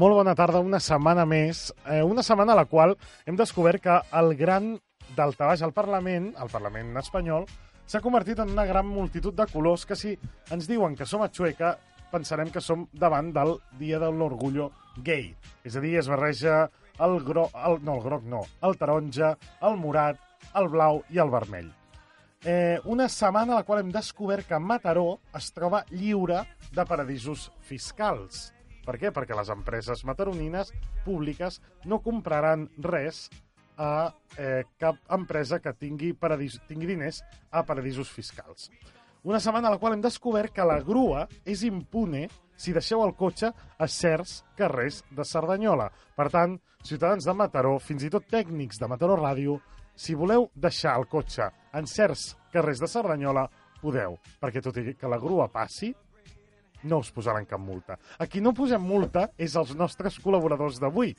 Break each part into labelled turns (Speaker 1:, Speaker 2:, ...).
Speaker 1: Molt bona tarda, una setmana més. Eh, una setmana a la qual hem descobert que el gran daltabaix al Parlament, al Parlament espanyol, s'ha convertit en una gran multitud de colors que si ens diuen que som a Xueca, pensarem que som davant del Dia de l'Orgullo Gay. És a dir, es barreja el groc, el, no, el groc no, el taronja, el morat, el blau i el vermell. Eh, una setmana a la qual hem descobert que Mataró es troba lliure de paradisos fiscals. Per què? Perquè les empreses mataronines públiques no compraran res a eh, cap empresa que tingui, paradis, tingui diners a paradisos fiscals. Una setmana a la qual hem descobert que la grua és impune si deixeu el cotxe a certs carrers de Cerdanyola. Per tant, ciutadans de Mataró, fins i tot tècnics de Mataró Ràdio, si voleu deixar el cotxe en certs carrers de Cerdanyola, podeu, perquè tot i que la grua passi, no us posaran cap multa. A qui no posem multa és als nostres col·laboradors d'avui.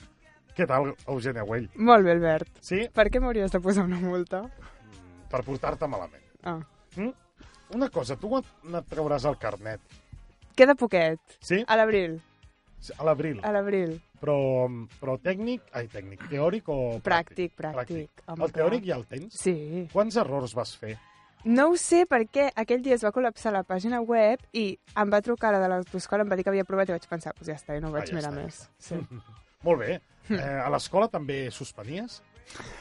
Speaker 1: Què tal, Eugeni Agüell?
Speaker 2: Molt bé, Albert.
Speaker 1: Sí? Mm,
Speaker 2: Per què m'hauries de posar una multa?
Speaker 1: Per portar-te malament.
Speaker 2: Ah.
Speaker 1: Mm? Una cosa, tu quan et trauràs el carnet?
Speaker 2: Queda poquet.
Speaker 1: Sí?
Speaker 2: A l'abril.
Speaker 1: A l'abril.
Speaker 2: A l'abril.
Speaker 1: Però, però tècnic... Ai, tècnic. Teòric o pràctic?
Speaker 2: Pràctic, pràctic. Home,
Speaker 1: El teòric ja el tens?
Speaker 2: Sí.
Speaker 1: Quants errors vas fer?
Speaker 2: No ho sé perquè aquell dia es va col·lapsar la pàgina web i em va trucar la de l'autoscola, em va dir que havia provat i vaig pensar, pues ja està, i no ho vaig
Speaker 1: Ah, ja
Speaker 2: mirar
Speaker 1: està, ja
Speaker 2: més. Sí.
Speaker 1: Molt bé.
Speaker 2: Hm.
Speaker 1: Eh, a l'escola també suspenies?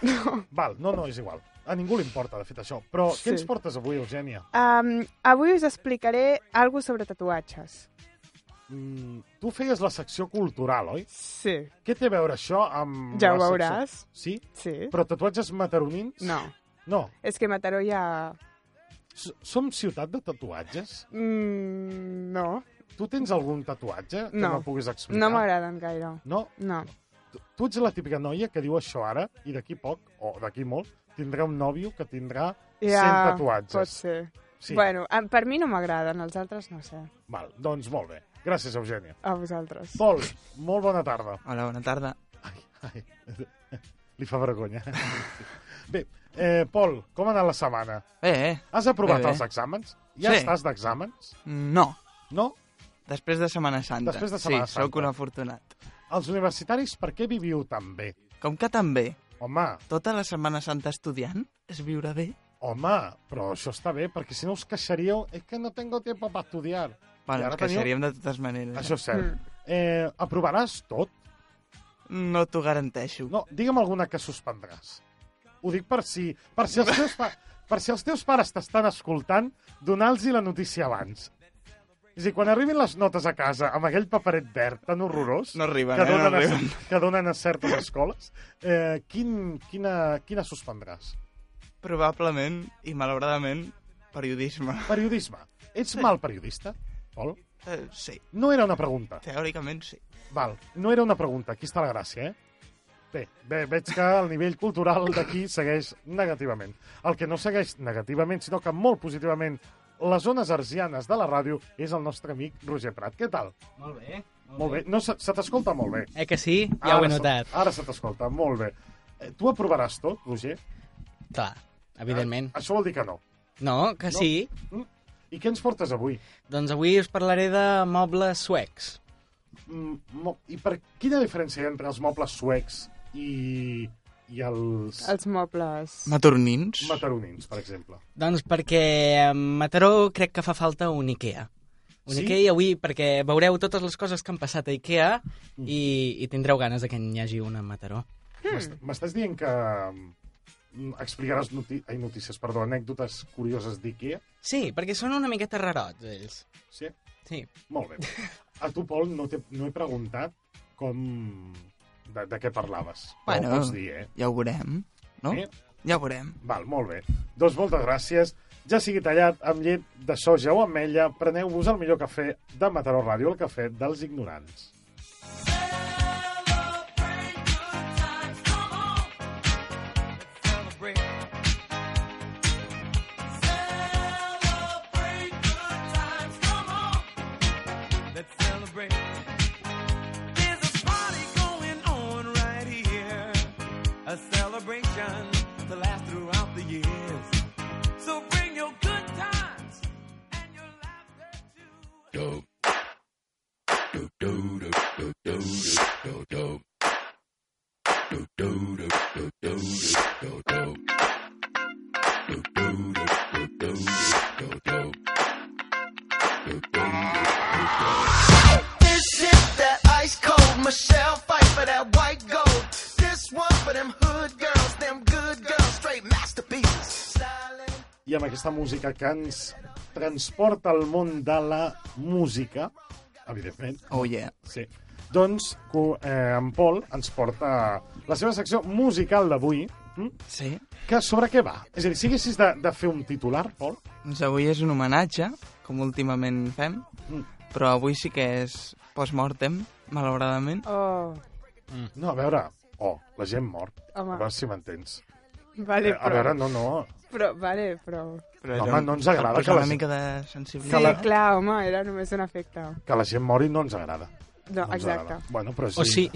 Speaker 1: No. Val, no, no, és igual. A ningú li importa, de fet, això. Però sí.
Speaker 2: Sí.
Speaker 1: què ens portes avui, Eugènia?
Speaker 2: Um, avui us explicaré alguna sobre tatuatges.
Speaker 1: Mm, tu feies la secció cultural, oi?
Speaker 2: Sí.
Speaker 1: Què té a veure això amb...
Speaker 2: Ja ho
Speaker 1: la secció-
Speaker 2: veuràs.
Speaker 1: Sí?
Speaker 2: Sí.
Speaker 1: Però tatuatges mataronins?
Speaker 2: No.
Speaker 1: No.
Speaker 2: És que Mataró ja...
Speaker 1: S- Som ciutat de tatuatges?
Speaker 2: Mm, no.
Speaker 1: Tu tens algun tatuatge que no,
Speaker 2: No.
Speaker 1: puguis explicar?
Speaker 2: No m'agraden gaire.
Speaker 1: No?
Speaker 2: No.
Speaker 1: Tu- Tu ets la típica noia que diu això ara i d'aquí poc, o d'aquí molt, tindrà un nòvio que tindrà 100 tatuatges.
Speaker 2: Pot ser.
Speaker 1: Sí,
Speaker 2: Bueno, em- per mi no m'agraden, els altres no sé.
Speaker 1: val, doncs molt bé. Gràcies, Eugènia.
Speaker 2: A vosaltres.
Speaker 1: Pol, molt bona tarda.
Speaker 3: Hola, bona tarda.
Speaker 1: Ai, li fa vergonya. Bé, eh, Pol, com ha anat la setmana?
Speaker 3: Bé, eh?
Speaker 1: Has aprovat
Speaker 3: Bé, bé.
Speaker 1: els exàmens? Ja
Speaker 3: Sí.
Speaker 1: estàs d'exàmens?
Speaker 3: No,
Speaker 1: No?
Speaker 3: després de Setmana Santa.
Speaker 1: Després de Setmana
Speaker 3: sí,
Speaker 1: Santa.
Speaker 3: sóc un afortunat.
Speaker 1: Els universitaris per què viviu tan bé?
Speaker 3: Com que també,
Speaker 1: Home,
Speaker 3: tota la Setmana Santa estudiant es viurà bé?
Speaker 1: home, però això està bé, perquè si no us queixaríeu és que no tengo tiempo para estudiar. I
Speaker 3: Bueno,
Speaker 1: ara
Speaker 3: ens queixaríem de totes maneres.
Speaker 1: Això és cert. Eh, aprovaràs tot?
Speaker 3: No t'ho garanteixo.
Speaker 1: No, digue'm alguna que suspendràs. Ho dic per si, per si, els, teus pa, per si els teus pares t'estan escoltant, donar-los la notícia abans. És a dir, quan arribin les notes a casa amb aquell paperet verd tan horrorós
Speaker 3: No arriben,
Speaker 1: que,
Speaker 3: eh? No
Speaker 1: donen a,
Speaker 3: arriben.
Speaker 1: que donen a certes escoles, eh, quin, quina, quina suspendràs?
Speaker 3: Probablement, i malauradament, periodisme.
Speaker 1: Periodisme. Ets mal periodista, Pol?
Speaker 3: Eh, sí,
Speaker 1: No era una pregunta.
Speaker 3: teòricament sí.
Speaker 1: Val, no era una pregunta. Aquí està la gràcia, eh? Bé, bé, veig que el nivell cultural d'aquí segueix negativament. El que no segueix negativament, sinó que molt positivament, les zones arsianes de la ràdio és el nostre amic Roger Prat. Què tal?
Speaker 4: Molt bé.
Speaker 1: Molt bé. Ah, No, se, se t'escolta molt bé.
Speaker 4: Eh que sí? Ja ho he
Speaker 1: se-
Speaker 4: notat.
Speaker 1: Ara se t'escolta, molt bé. Eh, Tu aprovaràs tot, Roger?
Speaker 4: Clar, evidentment.
Speaker 1: Això vol dir que no.
Speaker 4: No, que
Speaker 1: Ah. No.
Speaker 4: sí.
Speaker 1: I què ens portes avui?
Speaker 4: Doncs avui us parlaré de mobles suecs.
Speaker 1: Mm, mo- I per quina diferència hi ha entre els mobles suecs i, i els, els
Speaker 2: Els mobles...
Speaker 3: Matornins?
Speaker 1: mataronins, per exemple?
Speaker 4: Doncs perquè a Mataró crec que fa falta un Ikea. Un
Speaker 1: Sí?
Speaker 4: Ikea i avui perquè veureu totes les coses que han passat a Ikea i, i tindreu ganes de que n'hi hagi una a Mataró.
Speaker 1: M'est-
Speaker 3: Hmm.
Speaker 1: M'estàs dient que mm, explicaràs noti ai, notícies, perdó, anècdotes curioses d'IKEA?
Speaker 4: Sí, perquè són una miqueta rarots, ells.
Speaker 1: Sí?
Speaker 4: Sí.
Speaker 1: Molt bé. A tu, Pol, no, t'he- no he preguntat com... de, de què parlaves. Però
Speaker 3: Bueno.
Speaker 1: ho pots dir, eh?
Speaker 3: Ja ho veurem, no?
Speaker 1: Eh?
Speaker 3: Ja ho veurem.
Speaker 1: Val, molt bé. Doncs moltes gràcies. Ja sigui tallat amb llet de soja o ametlla, preneu-vos el millor cafè de Mataró Ràdio, el cafè dels ignorants.
Speaker 5: Let's celebrate. There's a party going on right here. A celebration to last throughout the years. So bring your good times and your laughter too.
Speaker 6: do do do do do do
Speaker 1: aquesta música que ens transporta al món de la música, evidentment,
Speaker 3: Oh, yeah.
Speaker 1: sí. doncs cu- eh, en Pol ens porta la seva secció musical d'avui, hm?
Speaker 3: Sí.
Speaker 1: que sobre què va? És a dir, si haguessis de, de fer un titular, Pol,
Speaker 3: Doncs avui és un homenatge, com últimament fem,
Speaker 1: Mm.
Speaker 3: però avui sí que és post-mortem, malauradament.
Speaker 2: Oh,
Speaker 1: no, a veure, oh, la gent mor,
Speaker 2: Home.
Speaker 1: a veure si m'entens.
Speaker 2: Ah. vale,
Speaker 1: Eh, a
Speaker 2: però...
Speaker 1: veure, no, no,
Speaker 2: Però, vale, però...
Speaker 3: Però
Speaker 1: Home,
Speaker 3: era-
Speaker 1: no ens agrada
Speaker 3: per posar
Speaker 1: que la-
Speaker 3: Una mica de
Speaker 2: Sí,
Speaker 3: sensibilitat.
Speaker 1: la-
Speaker 2: clar, home, era només un efecte.
Speaker 1: que la gent mori no ens agrada.
Speaker 2: No,
Speaker 1: ens
Speaker 2: exacte.
Speaker 1: agrada. Bueno, però sí.
Speaker 4: O sí,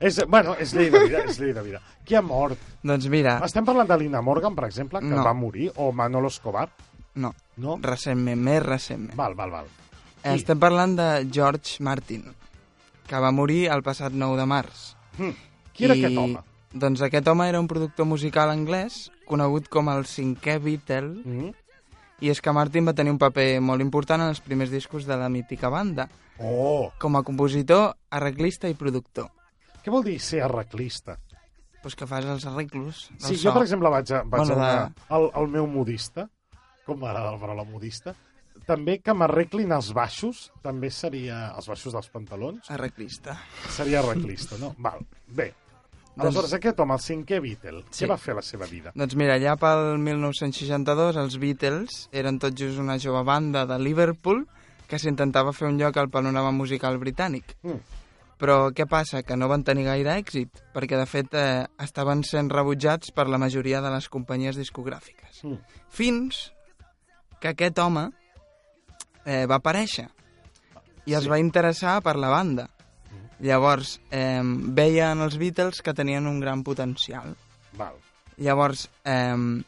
Speaker 1: És, bueno, és llei de vida, és llei de vida. Qui ha mort?
Speaker 3: Doncs mira,
Speaker 1: Estem parlant de Lina Morgan, per exemple, que
Speaker 3: No.
Speaker 1: va morir, o Manolo Escobar,
Speaker 3: no,
Speaker 1: no?
Speaker 3: recentment, més recentment.
Speaker 1: Val, val, val.
Speaker 3: Sí. Estem parlant de George Martin, que va morir el passat 9 de març.
Speaker 1: Hm. Qui era aquest home?
Speaker 3: Doncs aquest home era un productor musical anglès conegut com el cinquè Beatle
Speaker 1: Mm?
Speaker 3: i és que Martin va tenir un paper molt important en els primers discos de la mítica banda,
Speaker 1: Oh,
Speaker 3: com a compositor, arreglista i productor.
Speaker 1: què vol dir ser arreglista?
Speaker 3: Pues que fas els arreglos del
Speaker 1: Sí,
Speaker 3: so.
Speaker 1: jo, per exemple, vaig a, vaig
Speaker 3: Doncs Bueno,
Speaker 1: a una,
Speaker 3: de-
Speaker 1: al, al meu modista, com m'agrada la paraula modista, també que m'arreglin els baixos, també seria, els baixos dels pantalons,
Speaker 3: Ah. Arreglista.
Speaker 1: seria arreglista, no? Val, bé. Aleshores, aquest home, el cinquè Beatle,
Speaker 3: Doncs Sí.
Speaker 1: què va fer a la seva vida?
Speaker 3: Doncs mira, allà pel 1962 els Beatles eren tot just una jove banda de Liverpool que s'intentava fer un lloc al panorama musical britànic.
Speaker 1: Mm.
Speaker 3: Però què passa? Que no van tenir gaire èxit, perquè de fet eh, estaven sent rebutjats per la majoria de les companyies discogràfiques.
Speaker 1: Mm.
Speaker 3: Fins que aquest home eh, va aparèixer i es
Speaker 1: Sí.
Speaker 3: va interessar per la banda. Llavors, eh, veien els Beatles que tenien un gran potencial.
Speaker 1: Val.
Speaker 3: Llavors, eh,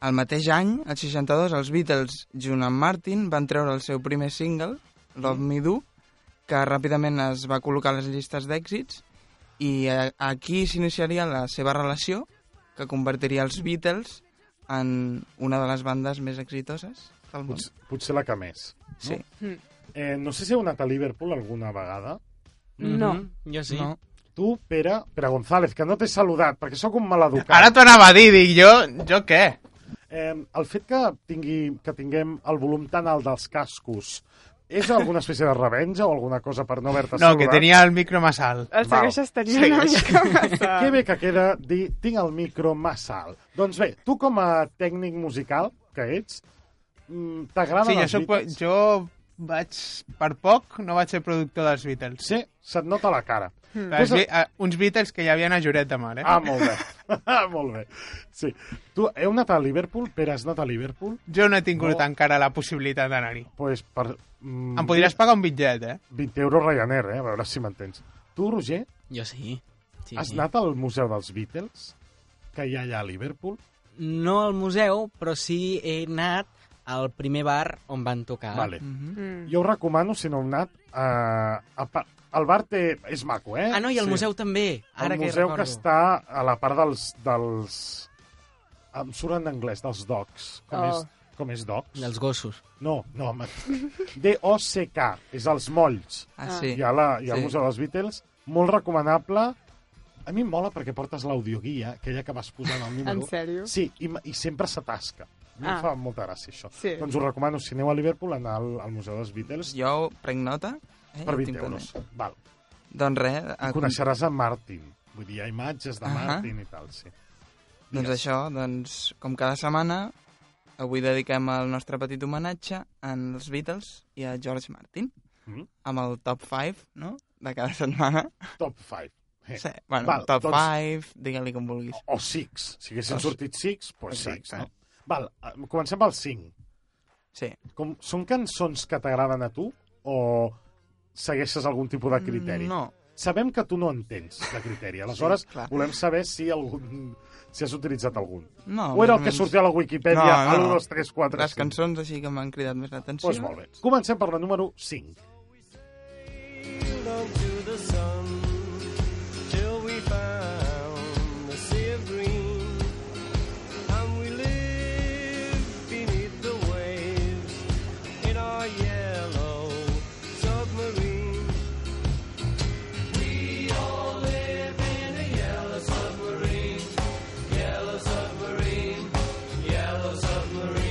Speaker 3: el mateix any, el 62, els Beatles, junt amb Martin, van treure el seu primer single, Love Me Do, que ràpidament es va col·locar a les llistes d'èxits, i eh, aquí s'iniciaria la seva relació, que convertiria els Beatles en una de les bandes més exitoses del món.
Speaker 1: Potser, potser la que més.
Speaker 3: Sí,
Speaker 1: Eh, no sé si heu anat a Liverpool alguna vegada.
Speaker 2: No.
Speaker 4: Mhm, jo sí.
Speaker 3: no?
Speaker 1: Tu, Pere, Pere González, que no t'he saludat, perquè sóc un maleducat.
Speaker 6: Ara t'ho anava a dir, dic jo, jo què?
Speaker 1: Eh, el fet que, tingui, que tinguem el volum tan alt dels cascos és alguna espècie de revenja o alguna cosa per no haver-te
Speaker 6: No,
Speaker 1: saludat?
Speaker 6: que tenia el micro més alt.
Speaker 1: Val.
Speaker 2: El segueixes tenint una mica massa.
Speaker 1: Que bé que queda dir, tinc el micro massa alt. Doncs bé, tu com a tècnic musical que ets, mm, t'agraden
Speaker 6: Sí, jo,
Speaker 1: els
Speaker 6: soc,
Speaker 1: Beatles?
Speaker 6: jo vaig, per poc, no vaig ser productor dels Beatles.
Speaker 1: Sí, se't nota la cara. Mm.
Speaker 6: Els, Be- eh, uns Beatles que hi havia a Lloret de Mar, eh?
Speaker 1: Ah, molt bé. ah, molt bé. Sí. Tu heu anat a Liverpool? Pere, has anat a Liverpool?
Speaker 6: Jo no he tingut
Speaker 1: No.
Speaker 6: encara la possibilitat d'anar-hi.
Speaker 1: pues per... Mm,
Speaker 6: Em podries pagar un bitllet, eh?
Speaker 1: 20 euros Ryanair, eh? A veure si m'entens. Tu, Roger,
Speaker 4: Jo sí. sí.
Speaker 1: has anat al Museu dels Beatles? Que hi ha allà a Liverpool?
Speaker 4: No al museu, però sí he anat al primer bar on van tocar.
Speaker 1: Vale.
Speaker 3: Mhm.
Speaker 2: Mm.
Speaker 1: Jo ho recomano, si no heu anat, a, a, pa- el bar té, és maco, eh?
Speaker 4: Ah, no, i al sí. museu també. Ara
Speaker 1: el
Speaker 4: que
Speaker 1: museu que
Speaker 4: recordo.
Speaker 1: està a la part dels... dels em surt en anglès, dels docs. Com,
Speaker 2: Oh.
Speaker 1: és, com és docs?
Speaker 4: Dels gossos.
Speaker 1: No, no, home. D-O-C-K, és els molls.
Speaker 3: Ah,
Speaker 2: Ah.
Speaker 3: sí.
Speaker 1: hi ha, la, hi ha el
Speaker 3: Sí.
Speaker 1: Museu dels Beatles, molt recomanable. A mi em mola perquè portes l'audioguia, aquella que vas posant al número.
Speaker 2: En sèrio?
Speaker 1: Sí, i, m- i sempre s'atasca. A mi ah.
Speaker 2: Ah.
Speaker 1: em fa molta gràcia, això.
Speaker 2: Sí.
Speaker 1: Doncs us recomano, si aneu a Liverpool, anar al, al Museu dels Beatles
Speaker 3: Jo prenc nota. Eh?
Speaker 1: per
Speaker 3: jo
Speaker 1: 20
Speaker 3: tinc
Speaker 1: euros.
Speaker 3: pendent.
Speaker 1: Val.
Speaker 3: Doncs res, a,
Speaker 1: I coneixeràs a Martin. Vull dir, hi ha imatges de
Speaker 3: Ahà.
Speaker 1: Martin i tal, sí.
Speaker 3: Doncs
Speaker 1: Digues.
Speaker 3: això, doncs, com cada setmana, avui dediquem el nostre petit homenatge als Beatles i a George Martin,
Speaker 1: Mm.
Speaker 3: amb el top 5, no?, de cada setmana.
Speaker 1: Top 5. Eh.
Speaker 3: Sí, bueno,
Speaker 1: Val,
Speaker 3: top
Speaker 1: doncs-
Speaker 3: 5, digue-li com vulguis.
Speaker 1: O 6. Si haguessin
Speaker 3: O-
Speaker 1: sortit 6, doncs 6,
Speaker 3: Exacte.
Speaker 1: no? Val, eh, comencem pel 5.
Speaker 3: Sí.
Speaker 1: Com, són cançons que t'agraden a tu o segueixes algun tipus de criteri?
Speaker 3: No,
Speaker 1: sabem que tu no en tens, de criteri. Aleshores, sí,
Speaker 3: clar.
Speaker 1: volem saber si algun si has utilitzat algun.
Speaker 3: no.
Speaker 1: o era el
Speaker 3: més
Speaker 1: que
Speaker 3: o menys.
Speaker 1: sortia a la Wikipedia, no,
Speaker 3: No, no,
Speaker 1: no,
Speaker 3: no.
Speaker 1: 1, 2, 3, 4,
Speaker 3: Les cançons així que m'han cridat més l'atenció.
Speaker 1: Doncs molt bé. Comencem per la número 5.
Speaker 5: Love to the sun till we found the sea of green, and we live beneath the waves in our yellow submarine. We all live in a yellow submarine, yellow submarine, yellow submarine.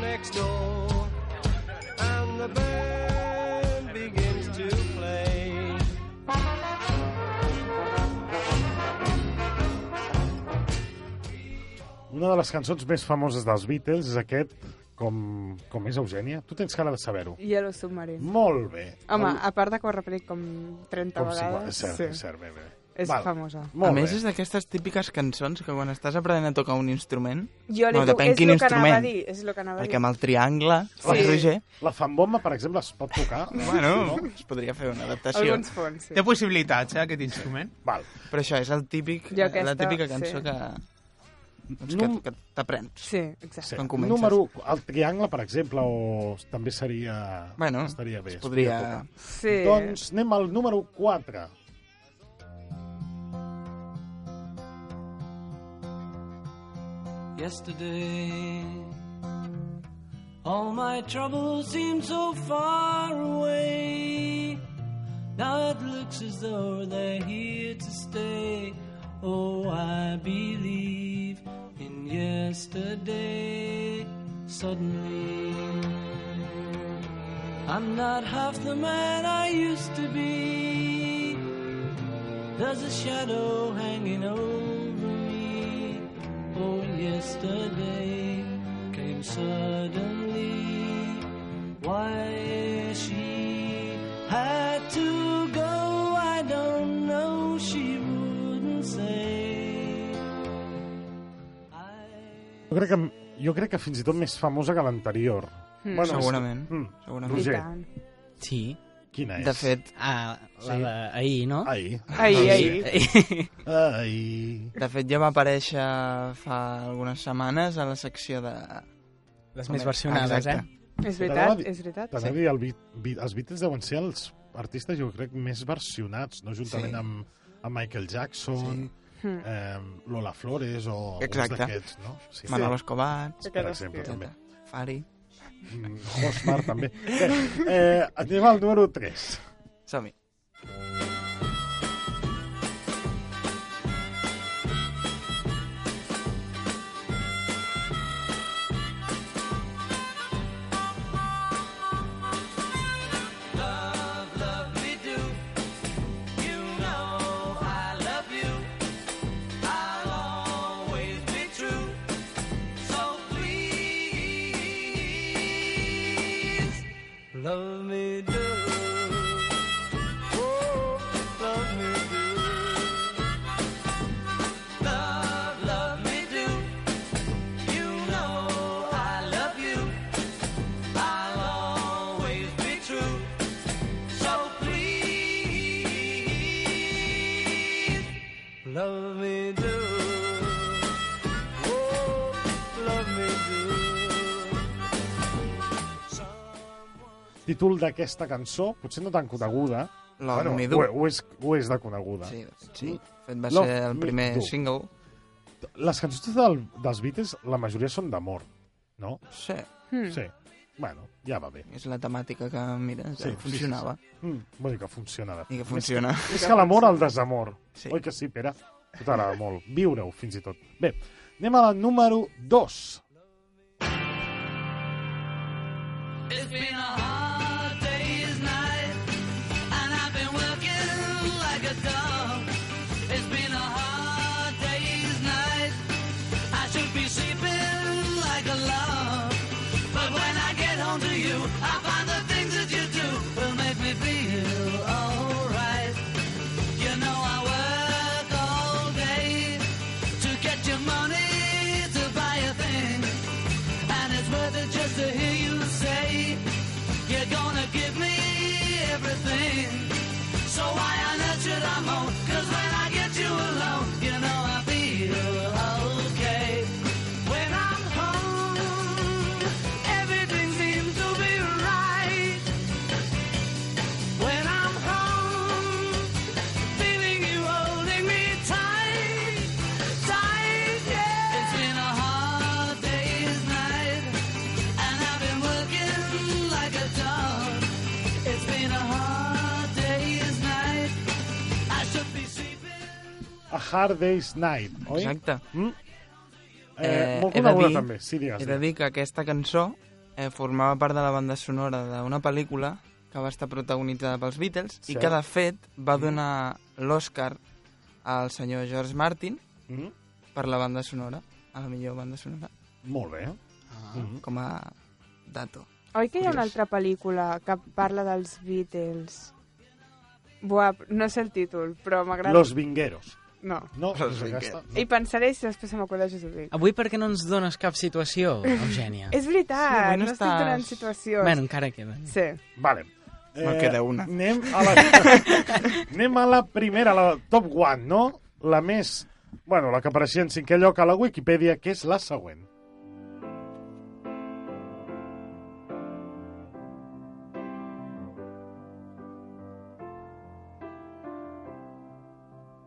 Speaker 5: next door. And the band begins to play.
Speaker 1: Una de les cançons més famoses dels Beatles és aquest, com, com és Eugènia. Tu tens cara de saber-ho.
Speaker 2: Yellow Submarine.
Speaker 1: Molt bé.
Speaker 2: Home,
Speaker 1: Com-
Speaker 2: a part de que ho ha repetit com 30
Speaker 1: com si,
Speaker 2: vegades...
Speaker 1: és cert, sí. és cert, bé, bé.
Speaker 2: És
Speaker 1: Val.
Speaker 2: famosa.
Speaker 1: Molt
Speaker 3: a més,
Speaker 1: bé.
Speaker 3: és d'aquestes típiques cançons que quan estàs aprenent a tocar un instrument,
Speaker 2: Jo
Speaker 3: Bueno, depèn
Speaker 2: és
Speaker 3: quin
Speaker 2: lo que anava a
Speaker 3: instrument.
Speaker 2: dir, és el que anava a
Speaker 3: perquè
Speaker 2: dir.
Speaker 3: amb el triangle, sí. el
Speaker 2: Sí.
Speaker 3: Roger,
Speaker 1: La fanbomba, per exemple, es pot tocar?
Speaker 3: bueno, es podria fer una adaptació.
Speaker 2: Alguns fons, sí.
Speaker 6: Té possibilitats, eh, aquest instrument?
Speaker 1: Val.
Speaker 3: Però això és el típic,
Speaker 2: Jo aquesta,
Speaker 3: la típica cançó
Speaker 2: sí.
Speaker 3: que, doncs que,
Speaker 1: Num-
Speaker 3: que t'aprens.
Speaker 2: Sí, exacte.
Speaker 1: Sí.
Speaker 3: Quan comences.
Speaker 1: Número u, el triangle, per exemple, o també seria...
Speaker 3: Bueno,
Speaker 1: estaria bé.
Speaker 3: es podria-
Speaker 1: tocar.
Speaker 2: Sí.
Speaker 1: Doncs anem al número 4.
Speaker 5: Yesterday, all my troubles seem so far away. Now it looks as though they're here to stay. Oh, I believe in yesterday. Suddenly, I'm not half the man I used to be. There's a shadow hanging over me. Oh, yesterday came suddenly. Why she had to go, I don't know. She wouldn't say. I
Speaker 1: Jo crec que, jo crec que fins i tot més famosa que l'anterior. Mm. Bueno,
Speaker 3: Segurament.
Speaker 1: Mm.
Speaker 3: Segurament.
Speaker 2: I
Speaker 1: Roger.
Speaker 2: tant.
Speaker 4: Sí.
Speaker 1: Quina és?
Speaker 3: De fet,
Speaker 4: Ah, la
Speaker 1: Sí. Ah,
Speaker 4: sí. d'ahir, no?
Speaker 1: Ahir.
Speaker 2: Ahir, ahir.
Speaker 4: ahir.
Speaker 1: Ahir.
Speaker 3: de fet ja va aparèixer fa algunes setmanes a la secció de...
Speaker 4: Les més versionades,
Speaker 3: Exacte.
Speaker 4: eh?
Speaker 2: És
Speaker 1: T'anava a
Speaker 2: veritat,
Speaker 1: dir-
Speaker 2: és veritat.
Speaker 1: T'anava a dir, el Beat, Beat, els Beatles deuen ser els artistes, jo crec, més versionats, no? Juntament
Speaker 3: Sí.
Speaker 1: amb, amb Michael Jackson, sí.
Speaker 2: Mm.
Speaker 1: eh, Lola Flores o
Speaker 3: Exacte.
Speaker 1: uns d'aquests, no? Sí.
Speaker 3: Manolo Escobar,
Speaker 1: Per exemple, també.
Speaker 3: etcètera. Fari,
Speaker 1: Mm, Osmar, també. Bé, eh, anem al número 3.
Speaker 3: som-hi.
Speaker 5: love me do. You know I love you. I'll always be true. So please, love me do. Oh, love me do. Love, love me do. You know I love you. I'll always be true. So please, love me do. Oh, love me do.
Speaker 1: Títol d'aquesta cançó, potser no tan coneguda.
Speaker 3: Love Me Do.
Speaker 1: ho, ho, és, ho és de coneguda.
Speaker 3: Sí, de fet, sí. De fet, va
Speaker 1: Love
Speaker 3: ser el
Speaker 1: Mm. Me
Speaker 3: primer
Speaker 1: Do.
Speaker 3: single.
Speaker 1: Les cançons del, dels Beatles, la majoria són d'amor, no?
Speaker 3: Sí,
Speaker 1: Mm. Sí. Bueno, ja va bé.
Speaker 3: és la temàtica que, mira,
Speaker 1: Sí,
Speaker 3: sí, funcionava. Sí,
Speaker 1: Mm. Vull dir que funciona. De...
Speaker 3: sí. I que funciona.
Speaker 1: És que l'amor al desamor.
Speaker 3: Sí.
Speaker 1: Oi que sí, Pere? A tu T'agrada molt. Viure-ho, fins i tot. Bé, anem a la número 2.
Speaker 5: It's been a hard day's night, and I've been working like a dog. It's been a hard day's night. I should be sleeping like a log. But when I get home to you, I find the things that you do will make me feel alright. You know I work all day to get your money to buy a thing. And it's worth it just to hear you say You're gonna give me everything So why on earth should I moan? Cause when I get you alone You know I feel okay When I'm home Everything seems to be right When I'm home Feeling you holding me tight tight, yeah. It's been a hard day's night, and I've been working like a dog. It's been a hard day's night. I should be sleeping.
Speaker 1: A Hard Day's Night, oi?
Speaker 3: Exacte. Eh,
Speaker 1: Eh, molt
Speaker 3: he de
Speaker 1: coneguda
Speaker 3: dir-
Speaker 1: també. Sí, digues.
Speaker 3: He de dir que aquesta cançó eh, formava part de la banda sonora d'una pel·lícula que va estar protagonitzada pels Beatles i
Speaker 1: Cert.
Speaker 3: que, de fet, va donar l'Oscar al senyor George Martin
Speaker 1: Mm?
Speaker 3: per la banda sonora, a la millor banda sonora,
Speaker 1: Molt bé.
Speaker 3: Ah.
Speaker 1: Mhm.
Speaker 3: com a dato.
Speaker 2: Oi que hi ha una
Speaker 3: Curiós.
Speaker 2: altra pel·lícula que parla dels Beatles? Buah, no sé el títol, però m'agrada...
Speaker 1: Los Vingueros.
Speaker 2: No.
Speaker 1: No,
Speaker 3: Los
Speaker 1: és aquesta.
Speaker 2: Hi pensaré i si després se m'acorda jo us ho dic.
Speaker 4: Avui per què no ens dones cap situació, Eugènia?
Speaker 2: És veritat,
Speaker 3: Sí, avui no
Speaker 2: no, estic
Speaker 3: estàs-
Speaker 2: donant situacions.
Speaker 4: Bueno, encara queda.
Speaker 2: Sí.
Speaker 1: Vale. Eh,
Speaker 3: No queda una.
Speaker 1: Anem a la, anem a la primera, la top one, no? La més... Bueno, la que apareixia en cinquè lloc a la Wikipedia, que és la següent.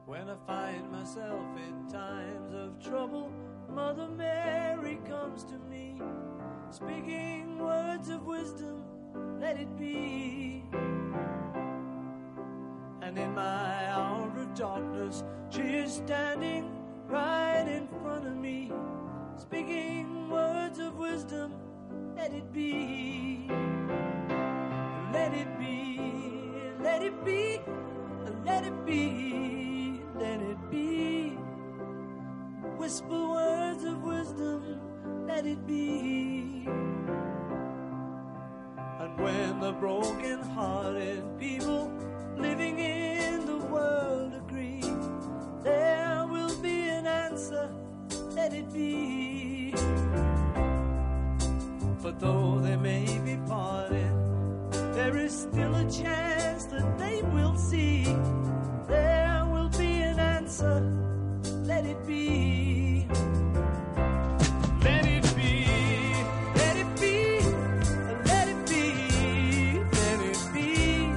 Speaker 5: When I find myself in times of trouble, Mother Mary comes to me, speaking words of wisdom, let it be. And in my hour of darkness, she is standing right in front of me, speaking words of wisdom, let it be. Let it be, let it be, let it be, let it be. Whisper words of wisdom, let it be. And when the broken hearted people living in the world agree, there will be an answer, let it be. But though they may be parted, there is still a chance that they will see. There will be an answer. Let it be. Let it be. Let it be. Let it be. Let it be.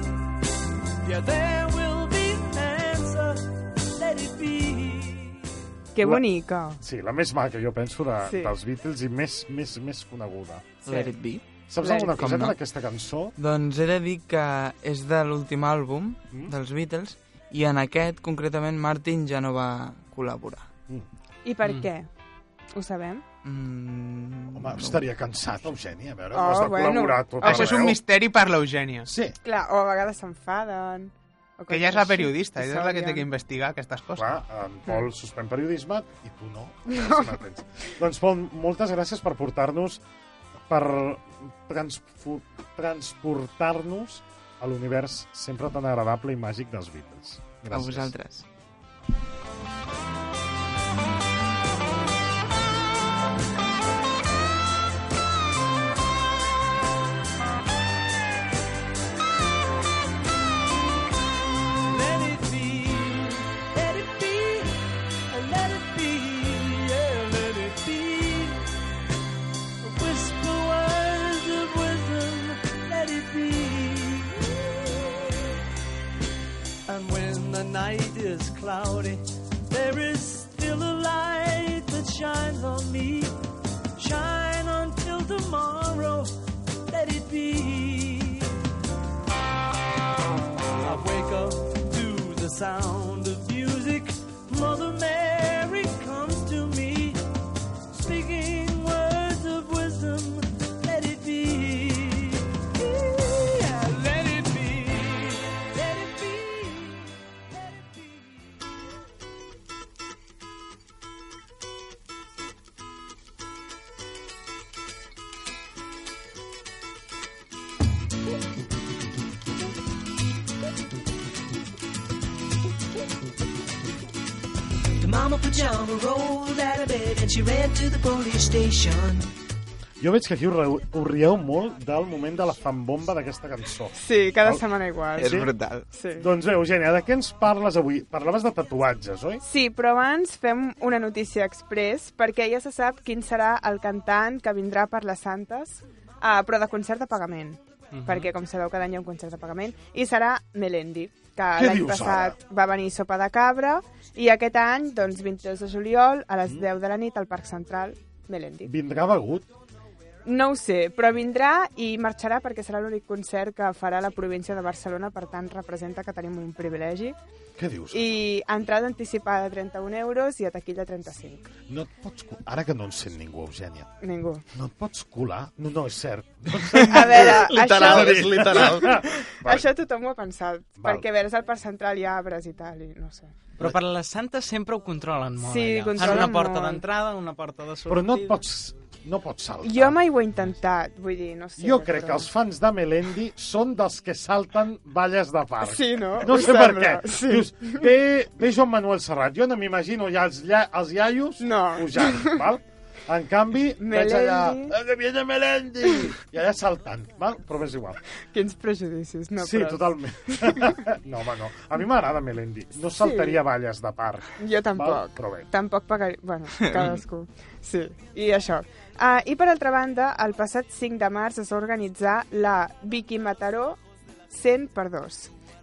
Speaker 5: Yeah, there will be an answer. Let it be.
Speaker 2: Que
Speaker 1: La-
Speaker 2: bonica.
Speaker 1: Sí, la més maca, jo penso, de, sí.
Speaker 2: Sí.
Speaker 1: dels Beatles i més, més, més coneguda.
Speaker 2: Sí.
Speaker 3: Let it be.
Speaker 1: Saps
Speaker 2: Clar,
Speaker 1: alguna
Speaker 3: com
Speaker 1: coseta
Speaker 3: no.
Speaker 1: d'aquesta cançó?
Speaker 3: Doncs he de dir que és de l'últim àlbum
Speaker 1: Mm.
Speaker 3: dels Beatles i en aquest, concretament, Martin ja no va col·laborar.
Speaker 2: I per
Speaker 4: Mm.
Speaker 2: què? Ho sabem?
Speaker 3: Mm,
Speaker 1: Home, estaria cansat, Eugènia, a veure,
Speaker 2: Oh,
Speaker 1: oh, has de
Speaker 2: bueno.
Speaker 1: col·laborar tot
Speaker 2: Ah,
Speaker 1: arreu.
Speaker 6: Això és un misteri per l'Eugènia,
Speaker 1: Sí,
Speaker 2: Clar, o a vegades s'enfaden... o
Speaker 6: que
Speaker 2: coses
Speaker 6: ja és la
Speaker 2: així.
Speaker 6: periodista,
Speaker 2: I
Speaker 6: ella és la que té que
Speaker 2: s'odien.
Speaker 6: investigar aquestes coses.
Speaker 1: clar, en Pol suspèn periodisme i tu no. no. doncs, Pol, moltes gràcies per portar-nos, per transfo- transportar-nos a l'univers sempre tan agradable i màgic dels Beatles. Gràcies.
Speaker 3: A vosaltres.
Speaker 5: Let it be, let it be, let it be, yeah, let it be. Whisper words of wisdom, let it be. And when the night is cloudy, there is still a light that shines on me. Shine until tomorrow, let it be. I wake up to the sound of music. Mother Mary comes to me, speaking words of wisdom. Let it be. Yeah, let it be. Let it be. Let it be.
Speaker 7: The mama pajama rolled out of bed and she ran to the police station.
Speaker 1: Jo veig que aquí us, reu, us rieu molt del moment de la fanbomba d'aquesta cançó.
Speaker 2: Sí, cada setmana
Speaker 1: Ah,
Speaker 2: igual.
Speaker 3: És brutal.
Speaker 2: Sí.
Speaker 1: Doncs bé, Eugènia, de què ens parles avui? Parlaves de tatuatges, oi?
Speaker 2: Sí, però abans fem una notícia express perquè ja se sap quin serà el cantant que vindrà per les Santes, uh, però de concert de pagament,
Speaker 1: Mhm.
Speaker 2: perquè com sabeu cada any hi ha un concert de pagament, i serà Melendi, que
Speaker 1: Què
Speaker 2: l'any
Speaker 1: dius,
Speaker 2: passat va venir Sopa de Cabra, i aquest any,
Speaker 1: Mhm.
Speaker 2: doncs 22 de juliol, a les 10 de la nit, al Parc Central, Melendi.
Speaker 1: Vindrà begut.
Speaker 2: No ho sé, però vindrà i marxarà perquè serà l'únic concert que farà la província de Barcelona, per tant representa que tenim un privilegi.
Speaker 1: Què dius?
Speaker 2: I entrada anticipada 31 euros i a taquilla 35.
Speaker 1: No et pots... col- Ara que no en sent ningú, Eugènia,
Speaker 2: Ningú.
Speaker 1: no et pots colar? No, no, és cert. No en
Speaker 2: A veure,
Speaker 8: Literal,
Speaker 2: això,
Speaker 8: és literal.
Speaker 2: això tothom ho ha pensat,
Speaker 1: Val.
Speaker 2: perquè a veure, és el parc central, hi ha arbres i tal, i no sé.
Speaker 4: Però per les santes sempre ho controlen molt,
Speaker 2: Sí,
Speaker 4: allà.
Speaker 2: controlen
Speaker 4: Fan una porta
Speaker 2: molt.
Speaker 4: d'entrada, una porta de sortida...
Speaker 1: Però no et pots... No pots saltar.
Speaker 2: Jo mai ho he intentat, vull dir, no sé.
Speaker 1: Jo crec que
Speaker 2: però-
Speaker 1: els fans de Melendi són dels que salten valles de parc.
Speaker 2: Sí, no?
Speaker 1: No
Speaker 2: Ho
Speaker 1: sé per què.
Speaker 2: sembla,
Speaker 1: Sí.
Speaker 2: sí.
Speaker 1: Dius, ve, ve Joan Manuel Serrat. Jo no m'imagino ja els, lla, els iaios
Speaker 2: No.
Speaker 1: pujant, val? En canvi, veig allà...
Speaker 2: Melendi.
Speaker 1: "Eh, que viene Melendi! I allà saltant, val? Però m'és igual.
Speaker 2: Quins prejudicis, no?
Speaker 1: sí,
Speaker 2: però...
Speaker 1: totalment. no, home, no. A mi m'agrada Melendi. No
Speaker 2: Sí.
Speaker 1: saltaria valles de parc.
Speaker 2: Jo
Speaker 1: Val,
Speaker 2: tampoc.
Speaker 1: però bé.
Speaker 2: Tampoc pagaria... Bueno, cadascú. Sí, i això. Ah, I per altra banda, el passat 5 de març es va organitzar la Vicky Mataró 100 per 2.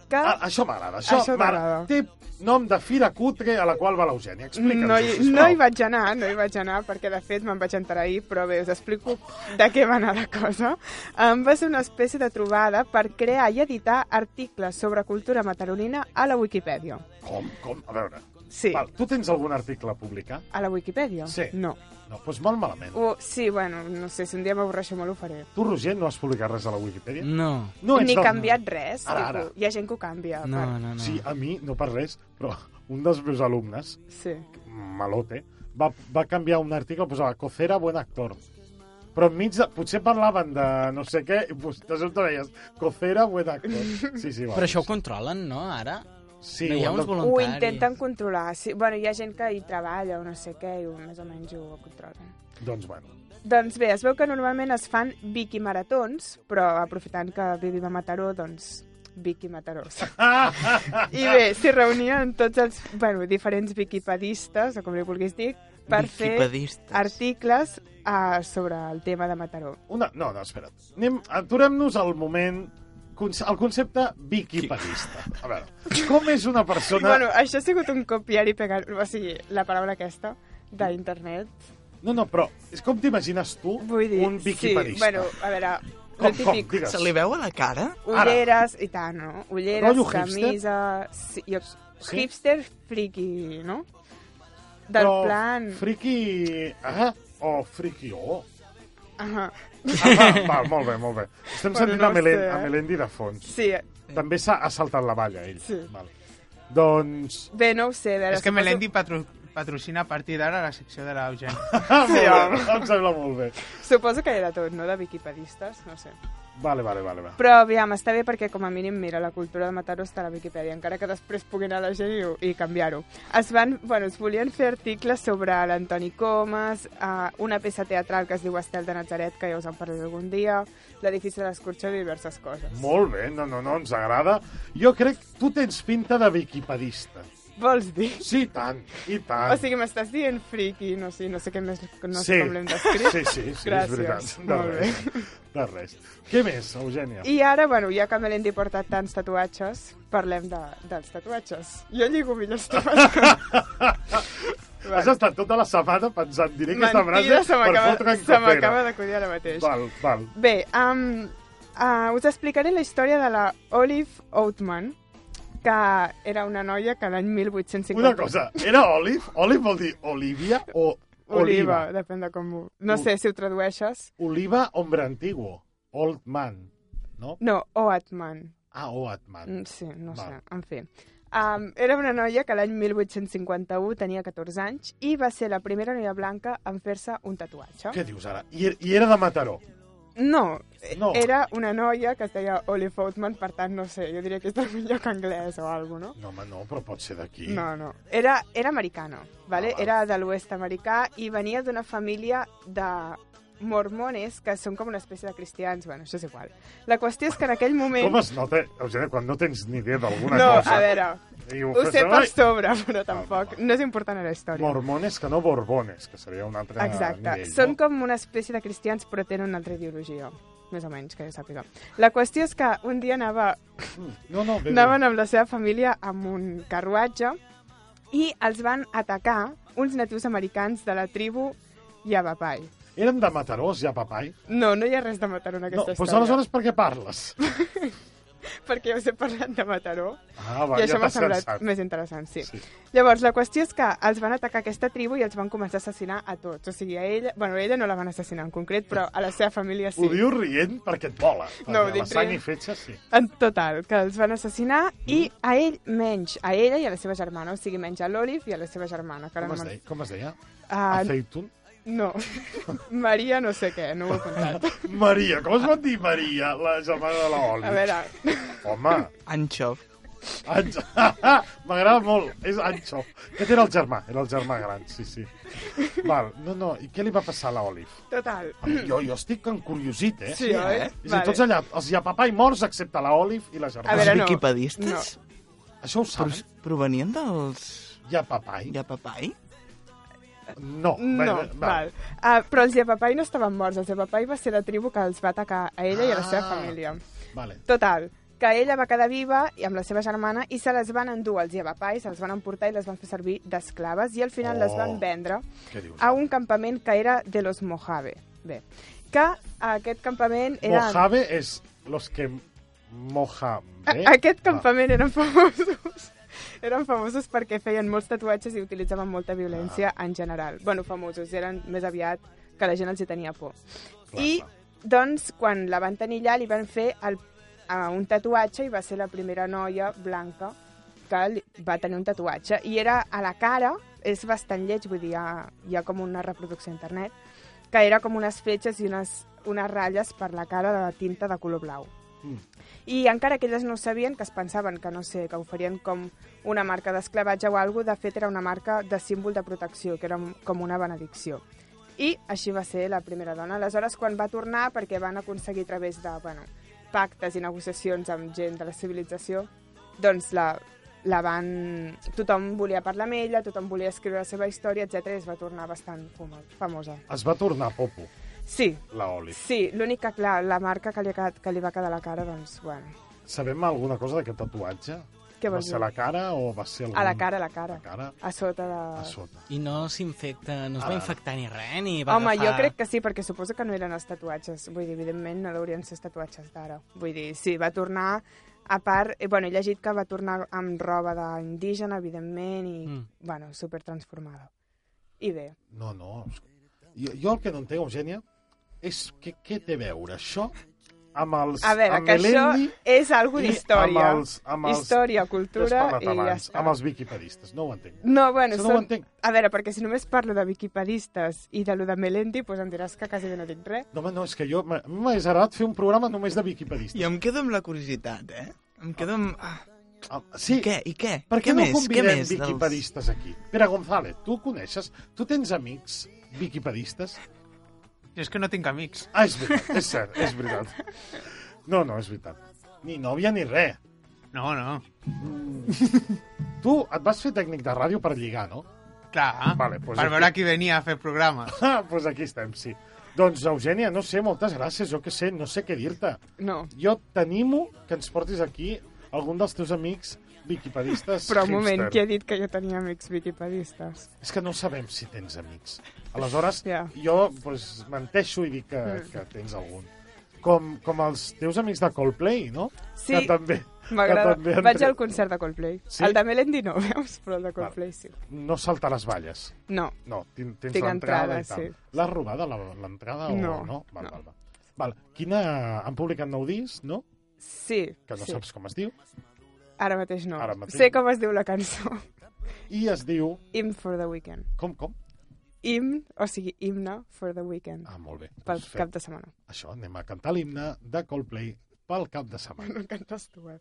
Speaker 2: Que
Speaker 1: Ah, això m'agrada. Això,
Speaker 2: Això
Speaker 1: m'agrada.
Speaker 2: t'agrada.
Speaker 1: Té nom de fira cutre a la qual va l'Eugènia. Explica'ns-ho,
Speaker 2: no, hi,
Speaker 1: sisplau.
Speaker 2: no hi vaig anar, no hi vaig anar, perquè de fet me'n vaig enterar ahir, però bé, us explico de què va anar la cosa. Um, va ser una espècie de trobada per crear i editar articles sobre cultura mataronina a la Wikipedia.
Speaker 1: Com, com? A veure.
Speaker 2: Sí,
Speaker 1: Val, tu tens algun article a publicar?
Speaker 2: a la Wikipedia?
Speaker 1: Sí.
Speaker 2: No.
Speaker 1: No, doncs molt malament.
Speaker 2: O, sí, bueno, no sé, si un dia m'avorreixo molt ho faré.
Speaker 1: Tu, Roger, no has publicat res a la Wikipedia?
Speaker 4: No,
Speaker 1: No
Speaker 2: Ni
Speaker 1: del-
Speaker 2: canviat res.
Speaker 1: Ara,
Speaker 2: dic,
Speaker 1: ara.
Speaker 2: Hi ha gent que ho canvia.
Speaker 4: no,
Speaker 2: per-
Speaker 4: no. no.
Speaker 1: Sí, a mi, no per res, però un dels meus alumnes,
Speaker 2: Sí.
Speaker 1: malote, va, va canviar un article, posava Cocera, buen actor. Però enmig de... Potser parlaven de no sé què, i pues, de sobte veies Cocera, buen actor. Sí, sí, va.
Speaker 4: Però això ho controlen, no, ara?
Speaker 1: Sí,
Speaker 4: no hi ha
Speaker 1: ho
Speaker 4: uns
Speaker 1: han de-
Speaker 2: Ho
Speaker 4: voluntaris.
Speaker 2: intenten controlar. Sí, bueno, hi ha gent que hi treballa o no sé què i ho- més o menys ho controlen.
Speaker 1: Doncs, bueno.
Speaker 2: Doncs bé, es veu que normalment es fan Vicky Maratons, però aprofitant que vivim a Mataró, doncs Vicky Mataró.
Speaker 1: Ah!
Speaker 2: I bé, s'hi reunien tots els bueno, diferents viquipedistes, o com li vulguis dir, per fer articles uh, sobre el tema de Mataró.
Speaker 1: Una... No, no, espera't. Anem... Aturem-nos al moment... conce- El concepte viquipedista. A veure, com és una persona...
Speaker 2: Bueno, això ha sigut un copiar i pegar... O sigui, la paraula aquesta d'internet.
Speaker 1: No, no, però és com t'imagines tu
Speaker 2: Vull dir...
Speaker 1: un
Speaker 2: Sí,
Speaker 1: viquipedista?
Speaker 2: bueno, a veure...
Speaker 1: com,
Speaker 2: el
Speaker 1: com,
Speaker 2: típic,
Speaker 1: digues.
Speaker 3: Se li veu a la cara?
Speaker 2: Ulleres i tant, no? Ulleres,
Speaker 1: Rotllo hipster?
Speaker 2: camisa... Sí, jo,
Speaker 1: Sí?
Speaker 2: Hipster friki, no? Del
Speaker 1: Però
Speaker 2: plan...
Speaker 1: Friki... Ah, o friki o...
Speaker 2: Ahà.
Speaker 1: Ah, va, va, molt bé, molt bé. Estem
Speaker 2: Bueno,
Speaker 1: sentint
Speaker 2: no
Speaker 1: a, Melen,
Speaker 2: sé, eh?
Speaker 1: a Melendi de fons.
Speaker 2: Sí,
Speaker 1: També s'ha ha saltat la valla, ell.
Speaker 2: Sí.
Speaker 1: Val. Doncs...
Speaker 2: bé, no ho sé. a Veure,
Speaker 6: És que
Speaker 2: suposo-
Speaker 6: Melendi patro patrocina a partir d'ara la secció de l'Eugènia.
Speaker 1: Ah, molt bé,
Speaker 2: home.
Speaker 1: em sembla molt bé.
Speaker 2: Suposo que hi ha de tot, no? De viquipedistes, no sé.
Speaker 1: Vale, vale, vale. Va.
Speaker 2: Però aviam, està bé perquè com a mínim, mira, la cultura de Mataró està a la Viquipèdia, encara que després pugui anar la gent i, i canviar-ho. Es van, bueno, es volien fer articles sobre l'Antoni Comas, eh, una peça teatral que es diu Estel de Nazaret, que ja us en parlaré algun dia, l'edifici de l'escorxó i diverses coses.
Speaker 1: Molt bé, no, no, no, ens agrada. Jo crec que tu tens pinta de viquipedista.
Speaker 2: Vols dir?
Speaker 1: Sí, i tant, i tant.
Speaker 2: O sigui, m'estàs dient friki, no sé, no sé què més, no
Speaker 1: Ah. Sí.
Speaker 2: sé com l'hem descrit.
Speaker 1: Sí, sí, sí, és
Speaker 2: Gràcies.
Speaker 1: veritat. De
Speaker 2: Molt bé.
Speaker 1: res, de res. Què més, Eugènia?
Speaker 2: I ara, bueno, ja que me l'hem portat tants tatuatges, parlem de, dels tatuatges. Jo lligo millor els tatuatges.
Speaker 1: Has estat tota la setmana pensant, diré aquesta
Speaker 2: Mentida,
Speaker 1: frase
Speaker 2: se
Speaker 1: per
Speaker 2: m'acaba-
Speaker 1: fotre en
Speaker 2: se m'acaba
Speaker 1: cafera.
Speaker 2: d'acudir ara mateix.
Speaker 1: Val, val.
Speaker 2: Bé, um, uh, us explicaré la història de la Olive Oatman, que era una noia que l'any 1850...
Speaker 1: Una cosa, era Olive? Olive vol dir Olivia o
Speaker 2: Oliva,
Speaker 1: Oliva?
Speaker 2: depèn de com ho... No sé si ho tradueixes.
Speaker 1: Oliva, hombre antiguo. Old man, no?
Speaker 2: No, Oatman.
Speaker 1: Ah, old man.
Speaker 2: Mm, Sí, no
Speaker 1: Val.
Speaker 2: sé, en fi. Um, era una noia que l'any 1851 tenia 14 anys i va ser la primera noia blanca en fer-se un tatuatge.
Speaker 1: Què dius ara? I, er- i era de Mataró.
Speaker 2: No, eh,
Speaker 1: No.
Speaker 2: era una noia que es deia Olive Oatman, per tant, no sé, jo diria que és d'algun lloc anglès o alguna no?
Speaker 1: No, home, no, però pot ser d'aquí.
Speaker 2: No, no. Era, era americana,
Speaker 1: Ah,
Speaker 2: ¿vale?
Speaker 1: val.
Speaker 2: era de l'oest americà i venia d'una família de mormones que són com una espècie de cristians, bueno, això és igual. La qüestió és que en aquell moment...
Speaker 1: Com es nota, Eugènia, quan no tens ni idea d'alguna
Speaker 2: no,
Speaker 1: cosa?
Speaker 2: a veure,
Speaker 1: I ho,
Speaker 2: ho
Speaker 1: fes
Speaker 2: sé per
Speaker 1: avall.
Speaker 2: sobre, però
Speaker 1: Ah,
Speaker 2: tampoc. No és important a la història.
Speaker 1: Mormones que no borbones, que seria un altre
Speaker 2: Exacte.
Speaker 1: nivell.
Speaker 2: Són
Speaker 1: no?
Speaker 2: com una espècie de cristians, però tenen una altra ideologia. Més o menys, que jo sàpiga. La qüestió és que un dia anava,
Speaker 1: No, no, bé, bé.
Speaker 2: anaven amb la seva família amb un carruatge i els van atacar uns natius americans de la tribu Yavapai.
Speaker 1: Eren de Matarós, ja, papai?
Speaker 2: No, no hi ha res de Mataró en
Speaker 1: No,
Speaker 2: aquesta
Speaker 1: doncs
Speaker 2: història.
Speaker 1: aleshores per què parles?
Speaker 2: Perquè ja us he parlat de Mataró.
Speaker 1: Ah, va,
Speaker 2: I això
Speaker 1: ja
Speaker 2: m'ha
Speaker 1: t'has
Speaker 2: semblat
Speaker 1: cansat.
Speaker 2: més interessant, sí.
Speaker 1: Sí.
Speaker 2: sí. Llavors, la qüestió és que els van atacar aquesta tribu i els van començar a assassinar a tots. O sigui, a ella... Bueno, a ella no la van assassinar en concret, però a la seva família sí.
Speaker 1: Ho dius rient perquè et vola.
Speaker 2: No, ho
Speaker 1: perquè
Speaker 2: dic
Speaker 1: la sang
Speaker 2: rient.
Speaker 1: i fetge, sí.
Speaker 2: En total, que els van assassinar i
Speaker 1: Mm.
Speaker 2: a ell menys, a ella i a la seva germana, o sigui, menys a l'Olive i a la seva germana. Que ara
Speaker 1: Com es
Speaker 2: no me'n-
Speaker 1: deia? Com es deia?
Speaker 2: Ah,
Speaker 1: Aceitun?
Speaker 2: no, Maria no sé què, no ho he apuntat.
Speaker 1: Maria, com es pot dir Maria, la germana de l'Oli?
Speaker 2: A veure,
Speaker 1: Home,
Speaker 3: Anxov.
Speaker 1: Anxo. M'agrada molt, és Anxo. Aquest era el germà, era el germà gran, sí, sí. Val, no, no, i què li va passar a l'Olive?
Speaker 2: total.
Speaker 1: Jo, jo estic encuriosit, eh?
Speaker 2: Sí, oi?
Speaker 3: eh?
Speaker 1: És a dir, tots allà, els iapapai morts, excepte la Olive i la
Speaker 2: A
Speaker 1: germana.
Speaker 2: veure,
Speaker 3: Els
Speaker 2: no.
Speaker 3: viquipedistes?
Speaker 1: Això ho
Speaker 3: Pro
Speaker 1: saben?
Speaker 3: provenien dels...
Speaker 1: Iapapai?
Speaker 3: Ja papai?
Speaker 1: No.
Speaker 2: No,
Speaker 1: Bé, bé,
Speaker 2: val. Uh, però els Iapapai no estaven morts. Els Iapapai va ser la tribu que els va atacar a ella i a la seva
Speaker 1: Ah.
Speaker 2: família.
Speaker 1: Vale.
Speaker 2: Total, que ella va quedar viva i amb la seva germana i se les van endur els Iapapai, se les van emportar i les van fer servir d'esclaves i al final les
Speaker 1: Oh.
Speaker 2: van vendre
Speaker 1: Què dius?
Speaker 2: a un campament que era de los Mojave. Bé, que aquest campament era...
Speaker 1: Mojave és los que mojave.
Speaker 2: A- Aquest
Speaker 1: Va.
Speaker 2: campament eren famosos. Eren famosos perquè feien molts tatuatges i utilitzaven molta violència en general. Bueno, famosos, eren més aviat que la gent els hi tenia por.
Speaker 1: Clar,
Speaker 2: I,
Speaker 1: clar.
Speaker 2: doncs, quan la van tenir allà, li van fer el, a un tatuatge i va ser la primera noia blanca que li, va tenir un tatuatge. I era a la cara, és bastant lleig, vull dir, hi ha, hi ha com una reproducció a internet, que era com unes fletxes i unes, unes ratlles per la cara de tinta de color blau.
Speaker 1: Mm.
Speaker 2: I encara que elles no ho sabien, que es pensaven que, no sé, que ho farien com una marca d'esclavatge o alguna de fet era una marca de símbol de protecció, que era com una benedicció. I així va ser la primera dona. Aleshores, quan va tornar, perquè van aconseguir a través de bueno, pactes i negociacions amb gent de la civilització, doncs la, la van... Tothom volia parlar amb ella, tothom volia escriure la seva història, etc. i es va tornar bastant famo- famosa.
Speaker 1: Es va tornar popo,
Speaker 2: Sí,
Speaker 1: la Olive.
Speaker 2: sí, l'únic que, clar, la marca que li, ha quedat, que li va quedar a la cara, doncs, bueno,
Speaker 1: Sabem alguna cosa d'aquest tatuatge?
Speaker 2: Què
Speaker 1: va
Speaker 2: vols
Speaker 1: ser
Speaker 2: dir?
Speaker 1: la cara o va ser algun...
Speaker 2: A la cara, a la cara.
Speaker 1: La cara?
Speaker 2: A sota de...
Speaker 1: A sota.
Speaker 4: I no s'infecta, no es
Speaker 1: Ah.
Speaker 4: va infectar ni res, ni va
Speaker 2: Home,
Speaker 4: agafar...
Speaker 2: jo crec que sí, perquè suposo que no eren els tatuatges. Vull dir, evidentment, no deurien ser els tatuatges d'ara. Vull dir, sí, va tornar... A part, eh, bueno, he llegit que va tornar amb roba d'indígena, evidentment, i,
Speaker 4: Mm.
Speaker 2: mm. bueno, super transformada. I bé,
Speaker 1: No, no. Jo, jo el que no entenc, Eugènia, és que què té a veure això amb els...
Speaker 2: a veure,
Speaker 1: amb
Speaker 2: que això
Speaker 1: Melendi
Speaker 2: és alguna
Speaker 1: i
Speaker 2: història.
Speaker 1: Amb els, amb els...
Speaker 2: Història,
Speaker 1: que has
Speaker 2: cultura,
Speaker 1: parlat
Speaker 2: i ja
Speaker 1: abans,
Speaker 2: està.
Speaker 1: Amb els viquipedistes, no ho entenc.
Speaker 2: No, bueno,
Speaker 1: Això no ho
Speaker 2: són...
Speaker 1: entenc.
Speaker 2: a veure, perquè si només parlo de viquipedistes i de lo de Melendi, doncs em diràs que quasi bé no dic res.
Speaker 1: No, home, no, és que jo... m'ha- M'hagués agradat fer un programa només de viquipedistes.
Speaker 3: Jo em quedo amb la curiositat, eh? Em quedo amb... Ah,
Speaker 1: Ah, sí,
Speaker 3: I què? I què?
Speaker 1: Per què
Speaker 3: què
Speaker 1: no
Speaker 3: més?
Speaker 1: convidem
Speaker 3: què més dels-
Speaker 1: viquipedistes aquí? Pere González, tu coneixes? Tu tens amics viquipedistes?
Speaker 6: Jo és que no tinc amics.
Speaker 1: Ah, és veritat, és cert, és veritat. No, no, és veritat. Ni nòvia ni res.
Speaker 6: No, no.
Speaker 1: Tu et vas fer tècnic de ràdio per lligar, no?
Speaker 6: Clar,
Speaker 1: Vale,
Speaker 6: vale, pues
Speaker 1: pues
Speaker 6: per
Speaker 1: aquí-
Speaker 6: veure qui venia a fer programa.
Speaker 1: Ah, doncs pues aquí estem, sí. Doncs, Eugènia, no sé, moltes gràcies, jo què sé, no sé què dir-te.
Speaker 2: No,
Speaker 1: Jo t'animo que ens portis aquí algun dels teus amics viquipedistes
Speaker 2: però un moment, qui
Speaker 1: hipster.
Speaker 2: ha dit que jo tenia amics viquipedistes?
Speaker 1: És que no sabem si tens amics. Aleshores,
Speaker 2: Ja.
Speaker 1: jo pues, menteixo i dic que,
Speaker 2: Mm.
Speaker 1: que tens algun. Com, com els teus amics de Coldplay, no?
Speaker 2: Sí.
Speaker 1: Que també, que
Speaker 2: M'agrada.
Speaker 1: també han
Speaker 2: Vaig
Speaker 1: tret-
Speaker 2: al concert de Coldplay.
Speaker 1: Sí?
Speaker 2: Sí? El de Melendi no, veus? Però el de Coldplay sí.
Speaker 1: No salta les valles.
Speaker 2: No.
Speaker 1: No, tin- tens
Speaker 2: Tinc
Speaker 1: l'entrada
Speaker 2: entrada,
Speaker 1: i tal.
Speaker 2: sí.
Speaker 1: L'has robada, la- l'entrada? o
Speaker 2: No,
Speaker 1: no? Val,
Speaker 2: no.
Speaker 1: val, val. Val. Quina... Han publicat nou disc, no?
Speaker 2: Sí,
Speaker 1: Que no
Speaker 2: sí.
Speaker 1: saps com es diu.
Speaker 2: Ara mateix no.
Speaker 1: Ara mateix
Speaker 2: Sé
Speaker 1: no.
Speaker 2: com es diu la cançó.
Speaker 1: I es diu...
Speaker 2: Hymn for the Weekend.
Speaker 1: Com, com?
Speaker 2: Hymn, o sigui, himne for the weekend.
Speaker 1: Ah, molt bé.
Speaker 2: Pel
Speaker 1: Doncs
Speaker 2: cap de setmana.
Speaker 1: Això, anem a cantar l'himne de Coldplay pel cap de setmana.
Speaker 2: No cantes tu, eh?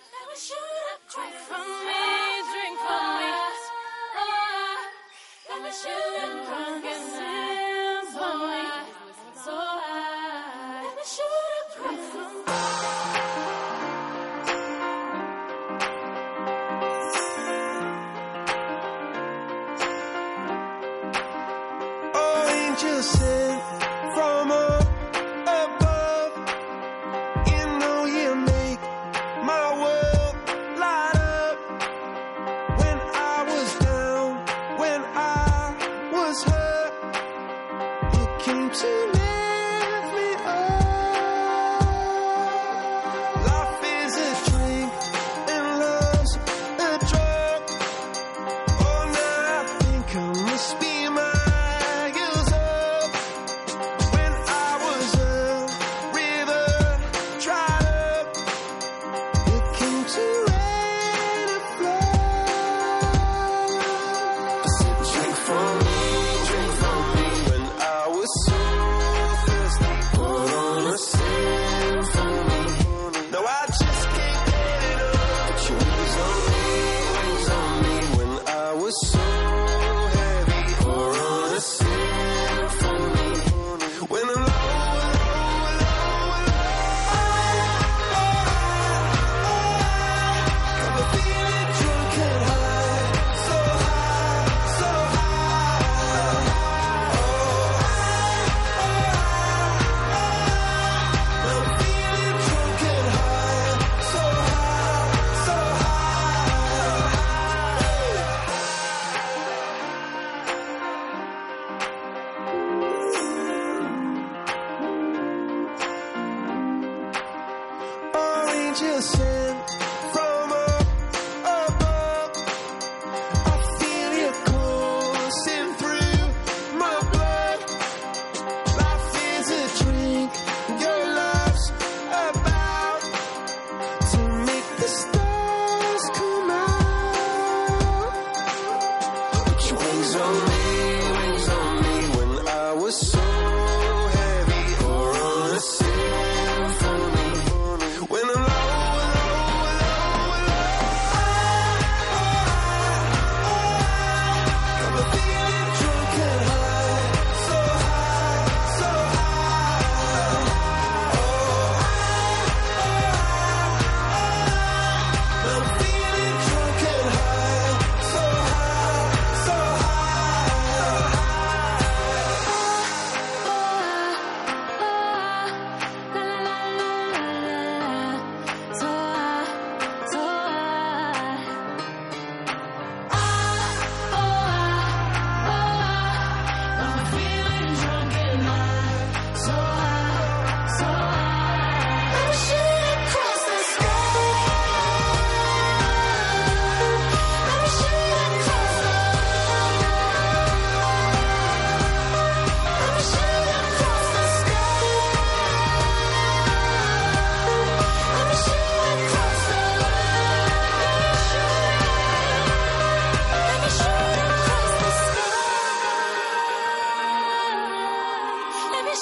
Speaker 8: Drink from me, drink from me. Ah, let me shoot it drunk and sing for me. So I, let me shoot it drunk from me.
Speaker 5: angel sent from up above. I feel you coursing through my blood. Life is a drink, your love's about to make the stars come out. Put your wings on me, wings on me when I was so heavy or on the symphony. When I'm low, low, low, low, I'm a feeling drunk and high, so high, so high. Oh, I'm feeling drunk and high, so high, so high.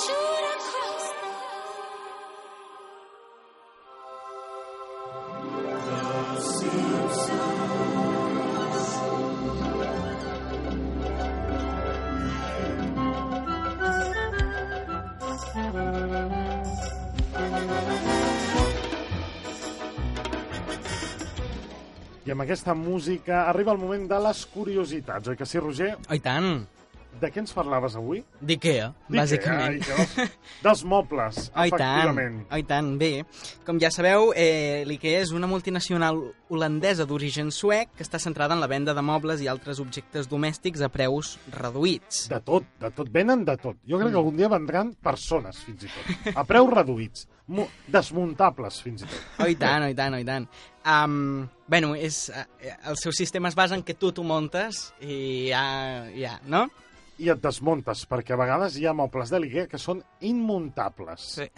Speaker 8: Shoot across
Speaker 1: I amb aquesta música arriba el moment de les curiositats, oi que sí, Roger?
Speaker 4: Oh, i tant.
Speaker 1: De què ens parlaves avui?
Speaker 4: D'Ikea, bàsicament.
Speaker 1: D'Ikea, Ikea, dels, dels mobles,
Speaker 4: Oh, i tant,
Speaker 1: efectivament.
Speaker 4: oh, i tant. Bé, com ja sabeu, eh, l'IKEA és una multinacional holandesa d'origen suec que està centrada en la venda de mobles i altres objectes domèstics a preus reduïts.
Speaker 1: De tot, de tot. Venen de tot. Jo crec que algun dia vendran persones, fins i tot. A preus reduïts. Mo desmuntables, fins i tot.
Speaker 4: Oh, i tant, oh, i tant, oh, i tant. Um, bueno, és, eh, el seu sistema es basa en que tu t'ho muntes i ja, ja, no?
Speaker 1: I et desmuntes, perquè a vegades hi ha mobles de l'Ikea que són immuntables.
Speaker 4: Sí.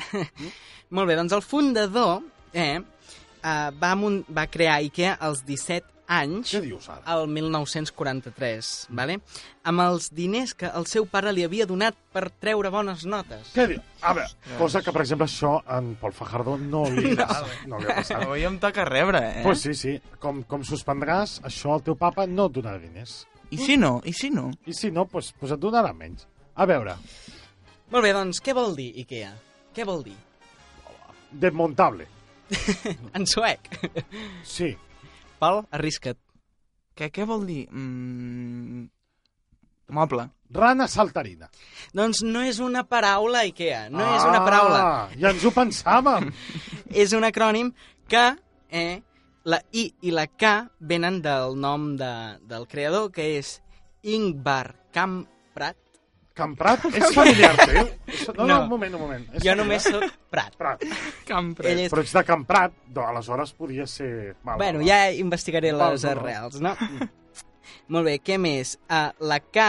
Speaker 4: Molt bé, doncs el fundador eh, eh, va, mun- va crear IKEA als 17 anys
Speaker 1: Què dius ara?
Speaker 4: al 1943, vale? amb els diners que el seu pare li havia donat per treure bones notes.
Speaker 1: Què dius? A veure, cosa que, per exemple, això en Pol Fajardo no li ha passat. No li ha passat.
Speaker 3: Avui em toca rebre, eh?
Speaker 1: Pues sí, sí. Com, com suspendràs, això el teu papa no et donarà diners.
Speaker 3: I si no? I si no?
Speaker 1: I si no, pues, pues et donarà menys. A veure,
Speaker 4: Molt bé, doncs què vol dir IKEA? Què vol dir?
Speaker 1: desmuntable.
Speaker 4: En suec.
Speaker 1: Sí,
Speaker 4: Pol, arrisca't.
Speaker 3: Què, què vol dir? Mm... Moble.
Speaker 1: rana saltarina. Ah,
Speaker 4: Doncs no és una paraula IKEA, no és una paraula.
Speaker 1: Ja ens ho pensàvem.
Speaker 4: És un acrònim que eh, la I i la K venen del nom de, del creador, que és Ingvar Kamprad.
Speaker 1: Camprat és familiar teu? Això- No, no,
Speaker 4: No.
Speaker 1: un moment, un moment. És
Speaker 4: Jo
Speaker 1: familiar?
Speaker 4: només soc Prat.
Speaker 1: Prat.
Speaker 3: Campre.
Speaker 4: Ell és...
Speaker 1: Però ets de Camprat, doncs aleshores podria ser... Mal,
Speaker 4: Bueno, ja investigaré
Speaker 1: Val,
Speaker 4: les
Speaker 1: val.
Speaker 4: arrels, no?
Speaker 1: Mm.
Speaker 4: Molt bé, què més? Uh, la K...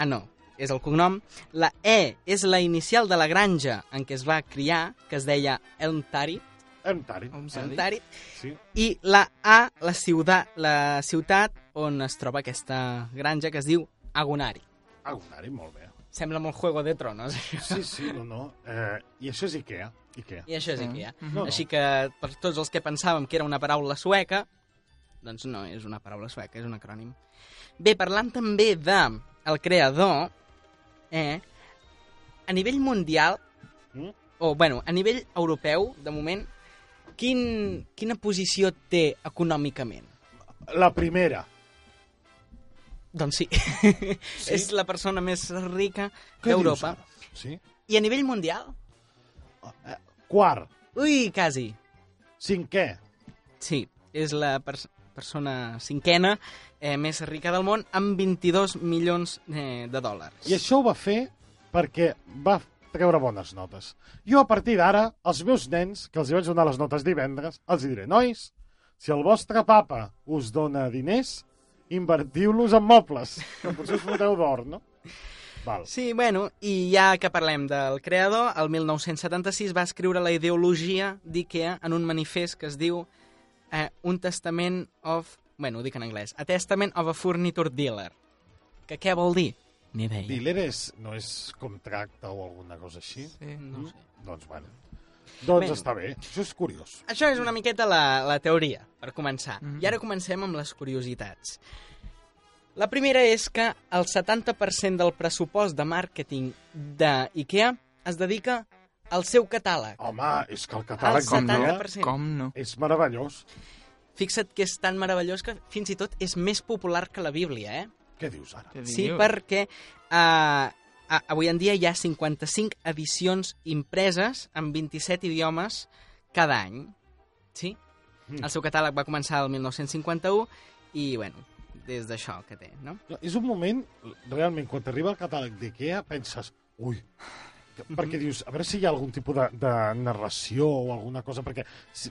Speaker 4: Ah, no, és el cognom. La E és la inicial de la granja en què es va criar, que es deia Elmtarit.
Speaker 1: Hem tari,
Speaker 4: Elmtarit.
Speaker 1: sí.
Speaker 4: I la A, la ciutat, la ciutat on es troba aquesta granja, que es diu Agonari.
Speaker 1: Agonari, molt bé.
Speaker 4: Sembla molt Juego de Tronos.
Speaker 1: Sí, sí, no, no. Eh, I això és Ikea. Ikea.
Speaker 4: I això és Ikea.
Speaker 1: No, no.
Speaker 4: Mhm. Així que per tots els que pensàvem que era una paraula sueca, doncs no és una paraula sueca, és un acrònim. Bé, parlant també de el creador, eh, a nivell mundial,
Speaker 1: Mm?
Speaker 4: o bueno, a nivell europeu, de moment, quin, quina posició té econòmicament?
Speaker 1: La primera.
Speaker 4: Doncs sí, sí? és la persona més rica
Speaker 1: Què
Speaker 4: d'Europa.
Speaker 1: dius ara? Sí.
Speaker 4: I a nivell mundial?
Speaker 1: Quart.
Speaker 4: Ui, quasi.
Speaker 1: Cinquè.
Speaker 4: Sí, és la pers persona cinquena eh, més rica del món amb 22 milions eh, de dòlars.
Speaker 1: I això ho va fer perquè va treure bones notes. Jo, a partir d'ara, als meus nens, que els hi vaig donar les notes divendres, els hi diré, nois, si el vostre papa us dona diners, invertiu-los en mobles, que potser us foteu d'or, no? Val.
Speaker 4: Sí, bueno, i ja que parlem del creador, el 1976 va escriure la ideologia d'IKEA en un manifest que es diu eh, Un Testament of... Bueno, ho dic en anglès. A Testament of a Furniture Dealer. Que què vol dir? Ni idea.
Speaker 1: Dealer és, no és contracte o alguna cosa així?
Speaker 3: Sí.
Speaker 4: No sé.
Speaker 1: Doncs, bueno. Doncs
Speaker 4: Bé.
Speaker 1: està bé. Això és curiós.
Speaker 4: Això és una miqueta la, la teoria, per començar. Mm -hmm. I ara comencem amb les curiositats. La primera és que el 70% del pressupost de màrqueting d'IKEA es dedica al seu catàleg.
Speaker 1: Home, és que el
Speaker 4: Al
Speaker 1: catàleg
Speaker 3: com no?
Speaker 4: 70%.
Speaker 3: Com no?
Speaker 1: és meravellós.
Speaker 4: Fixa't que és tan meravellós que fins i tot és més popular que la Bíblia, eh?
Speaker 1: Què dius ara?
Speaker 3: Què
Speaker 4: Sí,
Speaker 3: dius?
Speaker 4: perquè eh, a- avui en dia hi ha 55 edicions impreses en 27 idiomes cada any. Sí?
Speaker 1: Mm.
Speaker 4: El seu catàleg va començar el 1951 i, bueno, des d'això que té, no?
Speaker 1: És un moment, realment, quan t'arriba el catàleg d'IKEA, penses, ui, que-
Speaker 4: Mm-hmm.
Speaker 1: perquè dius, a veure si hi ha algun tipus de, de narració o alguna cosa, perquè si,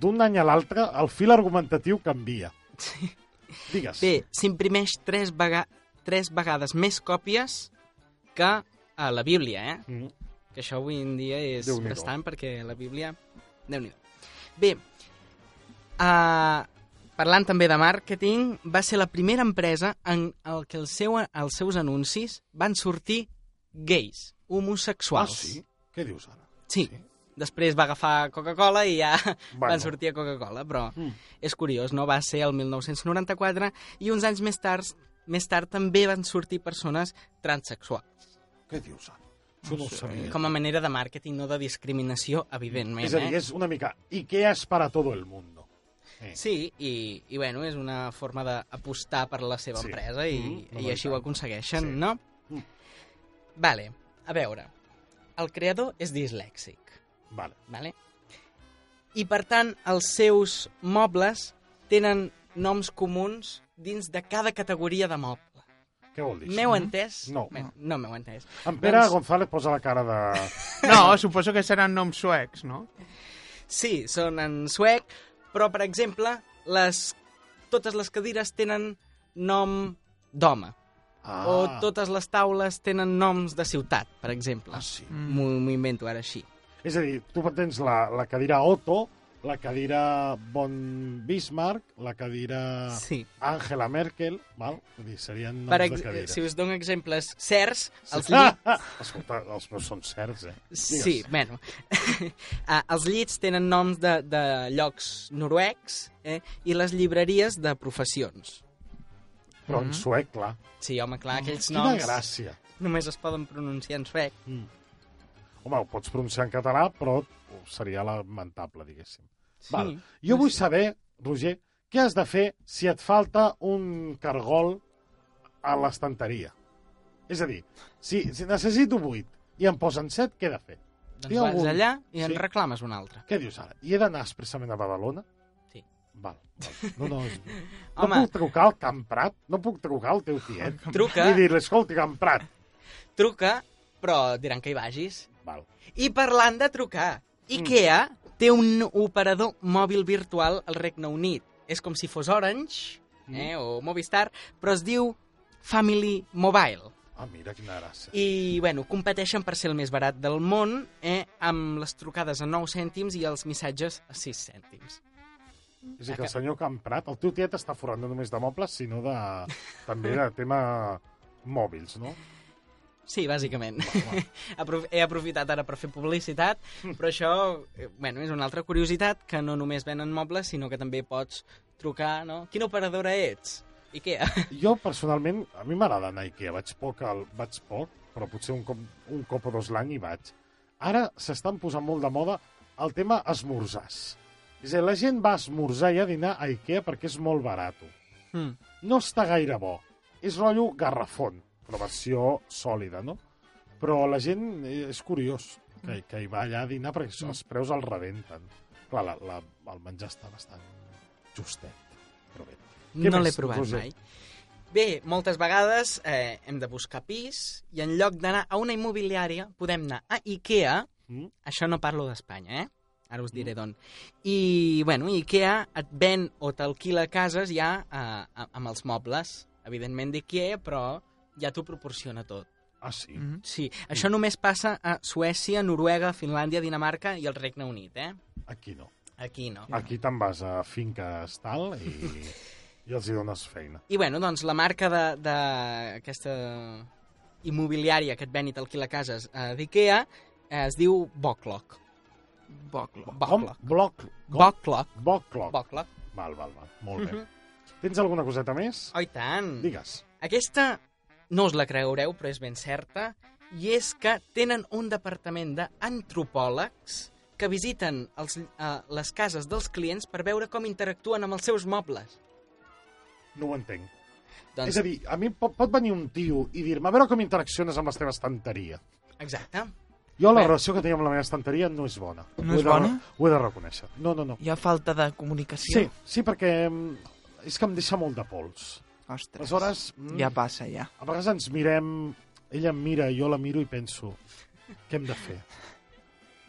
Speaker 1: d'un any a l'altre el fil argumentatiu canvia.
Speaker 4: Sí.
Speaker 1: Digues.
Speaker 4: Bé, s'imprimeix 3, vega 3 vegades més còpies que a la Bíblia, eh?
Speaker 1: Mm.
Speaker 4: que això avui en dia és
Speaker 1: Déu-n'hi-do.
Speaker 4: bastant perquè la Bíblia... déu nhi Bé, uh, parlant també de màrqueting, va ser la primera empresa en el que el seu, els seus anuncis van sortir gais,
Speaker 1: Ah,
Speaker 4: homosexuals.
Speaker 1: sí? Què dius ara?
Speaker 4: Sí. Després va agafar Coca-Cola i ja bueno.
Speaker 1: Bueno.
Speaker 4: van sortir a Coca-Cola, però
Speaker 1: Mm.
Speaker 4: és curiós, no? Va ser el 1994 i uns anys més tard, més tard també van sortir persones transsexuals
Speaker 1: Què dius ara? Això no, ho sabia.
Speaker 4: com a manera de màrqueting, no de discriminació, evidentment.
Speaker 1: Eh. és a dir,
Speaker 4: eh?
Speaker 1: és una mica IKEA és para todo el mundo. Eh.
Speaker 4: Sí, i, i bueno, és una forma d'apostar per la seva
Speaker 1: Sí.
Speaker 4: empresa i,
Speaker 1: Mhm,
Speaker 4: i així
Speaker 1: no
Speaker 4: ho
Speaker 1: tant.
Speaker 4: aconsegueixen,
Speaker 1: Sí.
Speaker 4: no?
Speaker 1: Mm.
Speaker 4: Vale, a veure, el creador és dislèxic,
Speaker 1: Vale.
Speaker 4: vale? i per tant els seus mobles tenen noms comuns dins de cada categoria de moble.
Speaker 1: Què vol dir? això?
Speaker 4: M'heu entès?
Speaker 1: No.
Speaker 4: Bé, no m'heu entès.
Speaker 1: En Pere
Speaker 4: Doncs-
Speaker 1: González posa la cara de...
Speaker 6: No, suposo que seran noms suecs, no?
Speaker 4: Sí, són en suec, però, per exemple, les, totes les cadires tenen nom d'home.
Speaker 1: Ah,
Speaker 4: Ah. O totes les taules tenen noms de ciutat, per exemple. Mm.
Speaker 1: Ah, sí.
Speaker 4: M'ho m'ho invento ara així.
Speaker 1: És a dir, tu tens la, la cadira Otto, la cadira von Bismarck, la cadira
Speaker 4: Sí.
Speaker 1: Angela Merkel, val? Vull dir, serien Ah, noms
Speaker 4: Per
Speaker 1: de
Speaker 4: ex eh,
Speaker 1: cadires.
Speaker 4: si us dono exemples certs, els
Speaker 1: Sí.
Speaker 4: llits...
Speaker 1: Ah! Escolta, els meus són certs, eh? Digues.
Speaker 4: Sí, bueno. Ah, els llits tenen noms de, de llocs noruecs eh? i les llibreries de professions.
Speaker 1: Però en suec, clar.
Speaker 4: Sí, home, clar,
Speaker 1: Ah,
Speaker 4: aquells
Speaker 1: Quina
Speaker 4: Mm. noms
Speaker 1: gràcia.
Speaker 4: només es poden pronunciar en suec.
Speaker 1: Home, ho pots pronunciar en català, però seria lamentable, diguéssim.
Speaker 4: Sí.
Speaker 1: Val. Jo vull saber, Roger, què has de fer si et falta un cargol a l'estanteria? És a dir, si, si necessito 8 i em posen 7, què he de fer?
Speaker 4: Doncs
Speaker 1: Té
Speaker 4: vas
Speaker 1: algun-
Speaker 4: allà i en
Speaker 1: Sí.
Speaker 4: reclames un altre.
Speaker 1: Què dius ara? I he d'anar expressament a Badalona?
Speaker 4: Sí.
Speaker 1: Val. val. No, no, és... no
Speaker 4: Home.
Speaker 1: puc trucar al Camprat? No puc trucar al teu tiet?
Speaker 4: Truca,
Speaker 1: I dir-li, escolti, Camprat.
Speaker 4: truca, però diran que hi vagis.
Speaker 1: Val.
Speaker 4: I parlant de trucar, IKEA té un operador mòbil virtual al Regne Unit. És com si fos Orange
Speaker 1: Mm.
Speaker 4: eh, o Movistar, però es diu Family Mobile.
Speaker 1: Ah, mira, quina gràcia.
Speaker 4: I, bueno, competeixen per ser el més barat del món eh, amb les trucades a 9 cèntims i els missatges a 6 cèntims.
Speaker 1: És a dir, que el senyor Camprat, el teu tiet està forrant no només de mobles, sinó de, també de tema mòbils, no?
Speaker 4: Sí, bàsicament.
Speaker 1: va.
Speaker 4: Apro- He aprofitat ara per fer publicitat, però això eh, bueno, és una altra curiositat, que no només venen mobles, sinó que també pots trucar, no? Quina operadora ets? Ikea.
Speaker 1: Jo, personalment, a mi m'agrada anar a Ikea. Vaig poc, al, vaig poc però potser un cop, un cop o dos l'any hi vaig. Ara s'estan posant molt de moda el tema esmorzars. És a dir, la gent va a esmorzar i a dinar a Ikea perquè és molt barat.
Speaker 4: Mm.
Speaker 1: No està gaire bo. És rotllo garrafón, però versió sòlida, no? Però la gent eh, és curiós que, que hi va allà a dinar perquè els preus el rebenten. Clar, la, la, el menjar està bastant justet. Però bé. Què
Speaker 4: No l'he
Speaker 1: més,
Speaker 4: provat
Speaker 1: Roser?
Speaker 4: mai. Bé, moltes vegades eh, hem de buscar pis i en lloc d'anar a una immobiliària podem anar a Ikea,
Speaker 1: Mm.
Speaker 4: mm. això no parlo d'Espanya, eh? Ara us diré d'on. I, bueno, Ikea et ven o t'alquila cases ja eh, a- amb els mobles, evidentment d'Ikea, però ja t'ho proporciona tot.
Speaker 1: Ah, sí?
Speaker 3: Mhm.
Speaker 4: Sí, això
Speaker 1: Mm.
Speaker 4: només passa a Suècia, Noruega, Finlàndia, Dinamarca i el Regne Unit, eh?
Speaker 1: Aquí no.
Speaker 4: Aquí no.
Speaker 1: Aquí te'n vas a finques tal i, i els hi dones feina.
Speaker 4: I bueno, doncs la marca d'aquesta de, aquesta immobiliària que et ven i t'alquila cases eh, d'Ikea eh, es diu Boclock.
Speaker 3: Boclo.
Speaker 4: Boclock.
Speaker 1: Bloc. Boc.
Speaker 4: Boclock.
Speaker 1: Bocloc.
Speaker 4: Boclock.
Speaker 1: Val, val, val. Molt bé. Tens alguna coseta més?
Speaker 4: Oh, i tant.
Speaker 1: Digues.
Speaker 4: Aquesta no us la creureu, però és ben certa, i és que tenen un departament d'antropòlegs que visiten els, eh, les cases dels clients per veure com interactuen amb els seus mobles.
Speaker 1: No ho entenc.
Speaker 4: Doncs,
Speaker 1: És a dir, a mi pot, pot venir un tio i dir-me a veure com interacciones amb la teva estanteria.
Speaker 4: exacte.
Speaker 1: Jo la
Speaker 4: Bé.
Speaker 1: relació que tenia amb la meva estanteria no és bona.
Speaker 3: No
Speaker 1: Ho he
Speaker 3: és
Speaker 1: de-
Speaker 3: bona?
Speaker 1: Ho he de reconèixer. No, no, no.
Speaker 3: Hi ha falta de
Speaker 1: Sí,
Speaker 3: comunicació.
Speaker 1: sí, perquè mm, és que em deixa molt de pols.
Speaker 3: Ostres.
Speaker 1: Aleshores, mm,
Speaker 3: Ja passa, ja.
Speaker 1: a vegades ens mirem, ella em mira, jo la miro i penso, què hem de fer?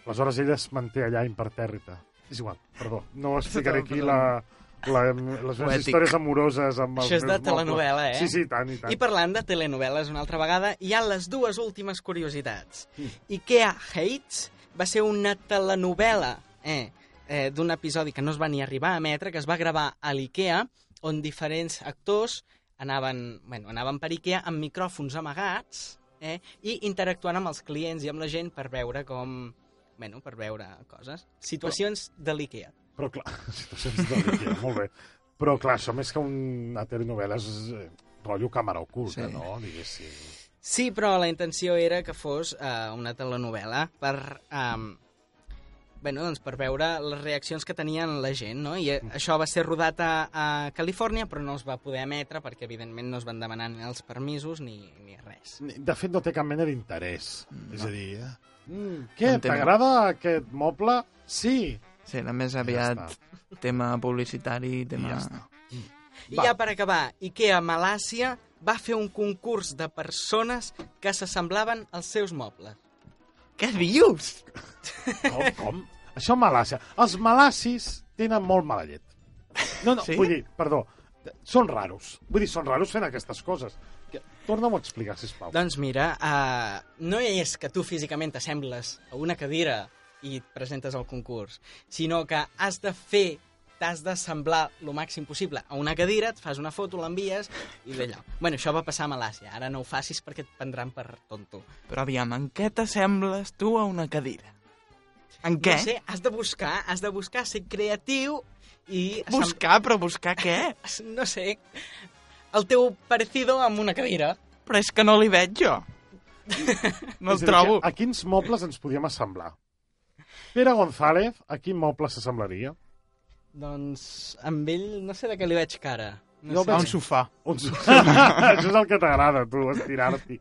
Speaker 1: Aleshores ella es manté allà impertèrrita. És igual, perdó, no explicaré aquí la, la, les meves
Speaker 3: Poètic.
Speaker 1: històries amoroses amb els
Speaker 4: Això és de
Speaker 1: meus mobles.
Speaker 4: telenovela, eh?
Speaker 1: Sí, sí, i tant, i tant.
Speaker 4: I parlant de telenovel·les una altra vegada, hi ha les dues últimes curiositats.
Speaker 1: Hm.
Speaker 4: Ikea Hates va ser una telenovel·la eh, eh, d'un episodi que no es va ni arribar a emetre, que es va gravar a l'Ikea, on diferents actors anaven, bueno, anaven per Ikea amb micròfons amagats eh, i interactuant amb els clients i amb la gent per veure com... Bueno, per veure coses. Situacions de l'Ikea.
Speaker 1: Però clar, situacions de l'Ikea, molt bé. Però clar, això més que una telenovela és eh, rotllo càmera oculta,
Speaker 3: Sí.
Speaker 1: sí. no? Diguéssim.
Speaker 4: Sí, però la intenció era que fos eh, una telenovela per... Eh, bueno, doncs per veure les reaccions que tenien la gent, no? I eh, això va ser rodat a, a Califòrnia, però no es va poder emetre perquè, evidentment, no es van demanar ni els permisos ni, ni res.
Speaker 1: De fet, no té cap mena d'interès. No. És a dir, eh? mm, què,
Speaker 3: Entenc.
Speaker 1: t'agrada aquest moble? Sí.
Speaker 3: Sí, era més
Speaker 1: Ja
Speaker 3: aviat tema publicitari, tema...
Speaker 1: Ja està.
Speaker 4: I
Speaker 1: Va.
Speaker 4: ja per acabar, Ikea Malàcia va fer un concurs de persones que s'assemblaven als seus mobles.
Speaker 3: Què dius?
Speaker 1: Com? com? Això a Malàcia. Els malassis tenen molt mala llet. No, no,
Speaker 3: Sí?
Speaker 1: sí? vull dir, perdó, són raros. Vull dir, són raros fent aquestes coses. Que- Torna-m'ho a explicar, sisplau.
Speaker 4: Doncs mira, uh, no és que tu físicament t'assembles a una cadira i et presentes al concurs, sinó que has de fer t'has de semblar el màxim possible a una cadira, et fas una foto, l'envies i d'allò. Bueno, això va passar a Malàcia. Ara no ho facis perquè et prendran per tonto.
Speaker 3: Però aviam, en què t'assembles tu a una cadira? En què?
Speaker 4: No sé, has de buscar, has de buscar, ser creatiu i...
Speaker 3: Buscar, però buscar què?
Speaker 4: assem- No sé, el teu parecido amb una cadira.
Speaker 3: Però és que no li veig jo. No
Speaker 1: És a
Speaker 3: el
Speaker 1: dir,
Speaker 3: trobo.
Speaker 1: que A quins mobles ens podíem assemblar? Pere González, a quin moble s'assemblaria?
Speaker 4: Doncs amb ell no sé de què li veig cara. No,
Speaker 1: Jo
Speaker 4: sé.
Speaker 6: A un sofà.
Speaker 1: Un... so- Això és el que t'agrada, tu, estirar-t'hi.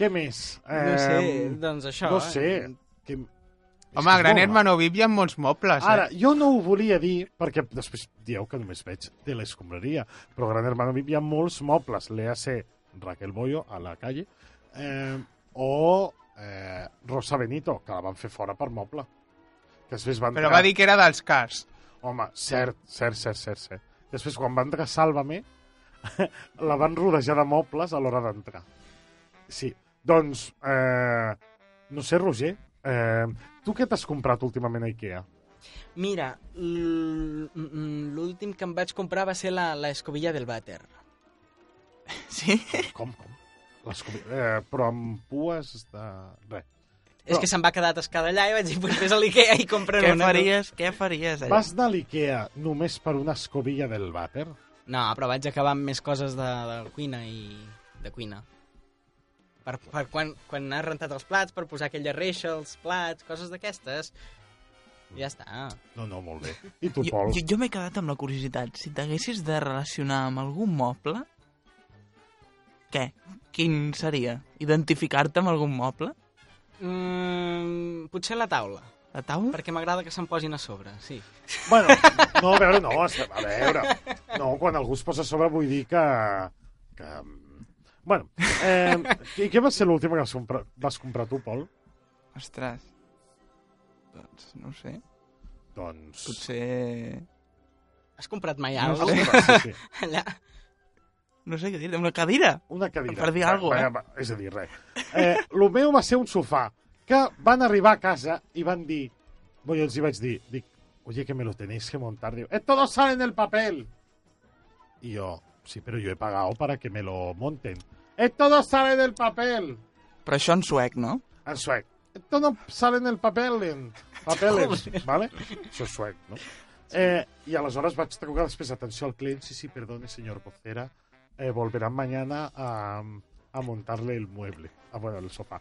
Speaker 1: Què més?
Speaker 4: No sé,
Speaker 1: Em,
Speaker 4: doncs això.
Speaker 1: No sé. Que...
Speaker 6: Home, a Gran
Speaker 1: Home.
Speaker 6: Hermano VIP hi ha molts mobles, eh?
Speaker 1: Ara, jo no ho volia dir, perquè després dieu que només veig de l'escombraria, però Gran Hermano VIP hi ha molts mobles. L'EAC Raquel Boyo, a la calle, eh, o eh, Rosa Benito, que la van fer fora per moble. Que després van
Speaker 6: Però va dir que era dels cars.
Speaker 1: Home, cert, cert, cert, cert, cert. Després, quan va entrar Sálvame, la van rodejar de mobles a l'hora d'entrar. Sí, doncs, eh, no sé, Roger, eh, tu què t'has comprat últimament a Ikea?
Speaker 4: Mira, l- mm, l'últim que em vaig comprar va ser la, la escobilla del vàter.
Speaker 3: Sí?
Speaker 1: Com, com? Les, comi- eh, però amb pues de... Res.
Speaker 4: És que se'n va quedar atascada allà i vaig dir, pues vés a l'Ikea i compren
Speaker 3: Què
Speaker 4: una.
Speaker 3: faries? Què faries allà?
Speaker 1: Vas anar a l'Ikea només per una escobilla del vàter?
Speaker 4: No, però vaig acabar amb més coses de, de cuina i... de cuina. Per, per quan, quan has rentat els plats, per posar aquella reixa als plats, coses d'aquestes. Ja està.
Speaker 1: No, no, molt bé. I tu,
Speaker 3: Jo,
Speaker 1: Pol?
Speaker 3: jo, jo m'he quedat amb la curiositat. Si t'haguessis de relacionar amb algun moble, què? Quin seria? Identificar-te amb algun moble?
Speaker 4: Mm, potser la taula,
Speaker 3: La taula?
Speaker 4: perquè m'agrada que se'n posin a sobre, sí.
Speaker 1: Bueno, no, a veure, no, a veure. No, quan algú es posa a sobre vull dir que Que... Bueno, eh, i què va ser l'última que vas comprar, vas comprar tu, Pol?
Speaker 3: Ostres. Doncs, no ho sé.
Speaker 1: Doncs...
Speaker 3: Potser...
Speaker 4: Has comprat mai
Speaker 1: No
Speaker 4: alguna
Speaker 1: sé,
Speaker 4: cosa?
Speaker 1: sí, sí.
Speaker 4: Allà.
Speaker 3: No sé què dir-te, una cadira.
Speaker 1: Una cadira.
Speaker 3: Per dir alguna cosa,
Speaker 1: Va, va, És a dir, res. Eh, el meu va ser un sofà que van arribar a casa i van dir... Bueno, jo els hi vaig dir, dic, oye, que me lo tenéis que montar. Diu, esto no sale en el papel. I jo, sí, però jo he pagado para que me lo monten. Esto no sale del papel.
Speaker 3: Però això en suec, no?
Speaker 1: En suec. Esto no sale en el papel. En papeles, ¿vale? Això és suec, no? Eh, I aleshores vaig trucar després, atenció al client, sí, sí, perdone, señor Vocera, eh, volverán mañana a, a montarle el mueble, a, bueno, el sofà.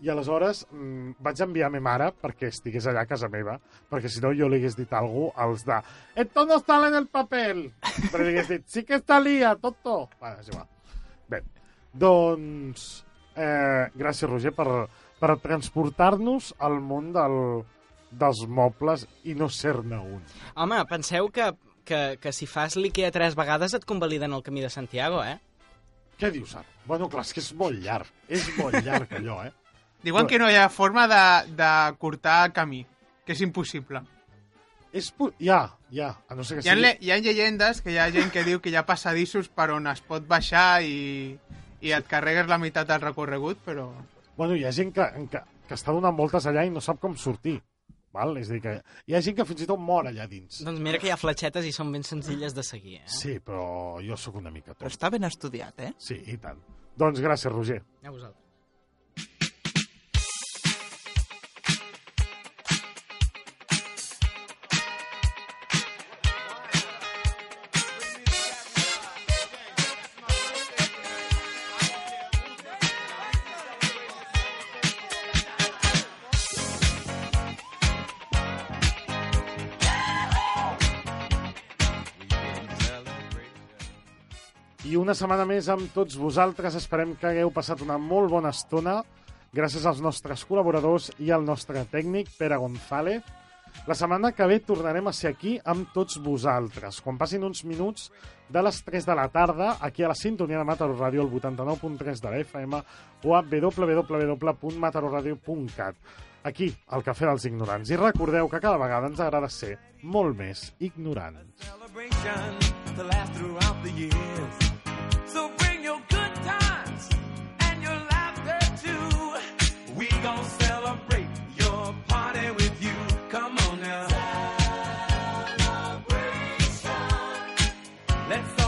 Speaker 1: I aleshores mm, vaig enviar a me mare perquè estigués allà a casa meva, perquè si no jo li hagués dit algú als de «Esto no sale en el papel!» Però li hagués dit «Sí que estalia, tonto!» Bueno, és igual. Bé, doncs... Eh, gràcies, Roger, per, per transportar-nos al món del, dels mobles i no ser-ne un.
Speaker 4: Home, penseu que, que, que si fas l'IKEA tres vegades et convaliden el camí de Santiago, eh?
Speaker 1: Què dius ara? Bueno, clar, és que és molt llarg. És molt llarg allò, eh?
Speaker 6: Diuen que no hi ha forma de, de cortar el camí, que és impossible.
Speaker 1: És pu... Ja, ja, a no ser que
Speaker 6: Hi ha,
Speaker 1: sigui...
Speaker 6: le- hi ha llegendes que hi ha gent que diu que hi ha passadissos per on es pot baixar i, i et carregues la meitat del recorregut, però...
Speaker 1: Bueno, hi ha gent que, en que, que està donant voltes allà i no sap com sortir. Val? És a dir, que hi ha gent que fins i tot mor allà dins.
Speaker 4: Doncs mira que hi ha fletxetes i són ben senzilles de seguir, eh?
Speaker 1: Sí, però jo sóc una mica
Speaker 3: Però
Speaker 1: tot.
Speaker 3: està ben estudiat, eh?
Speaker 1: Sí, i tant. Doncs gràcies, Roger.
Speaker 4: A vosaltres.
Speaker 1: I una setmana més amb tots vosaltres. Esperem que hagueu passat una molt bona estona gràcies als nostres col·laboradors i al nostre tècnic, Pere González. La setmana que ve tornarem a ser aquí amb tots vosaltres, quan passin uns minuts de les 3 de la tarda, aquí a la sintonia de Mataró Ràdio, al 89.3 de la FM o a www.mataroradio.cat. Aquí, al Cafè dels Ignorants. I recordeu que cada vegada ens agrada ser molt més ignorants.
Speaker 5: celebration to last throughout the years. So bring your good times and your laughter too. We gon' celebrate your party with you. Come on now. Celebration. Let's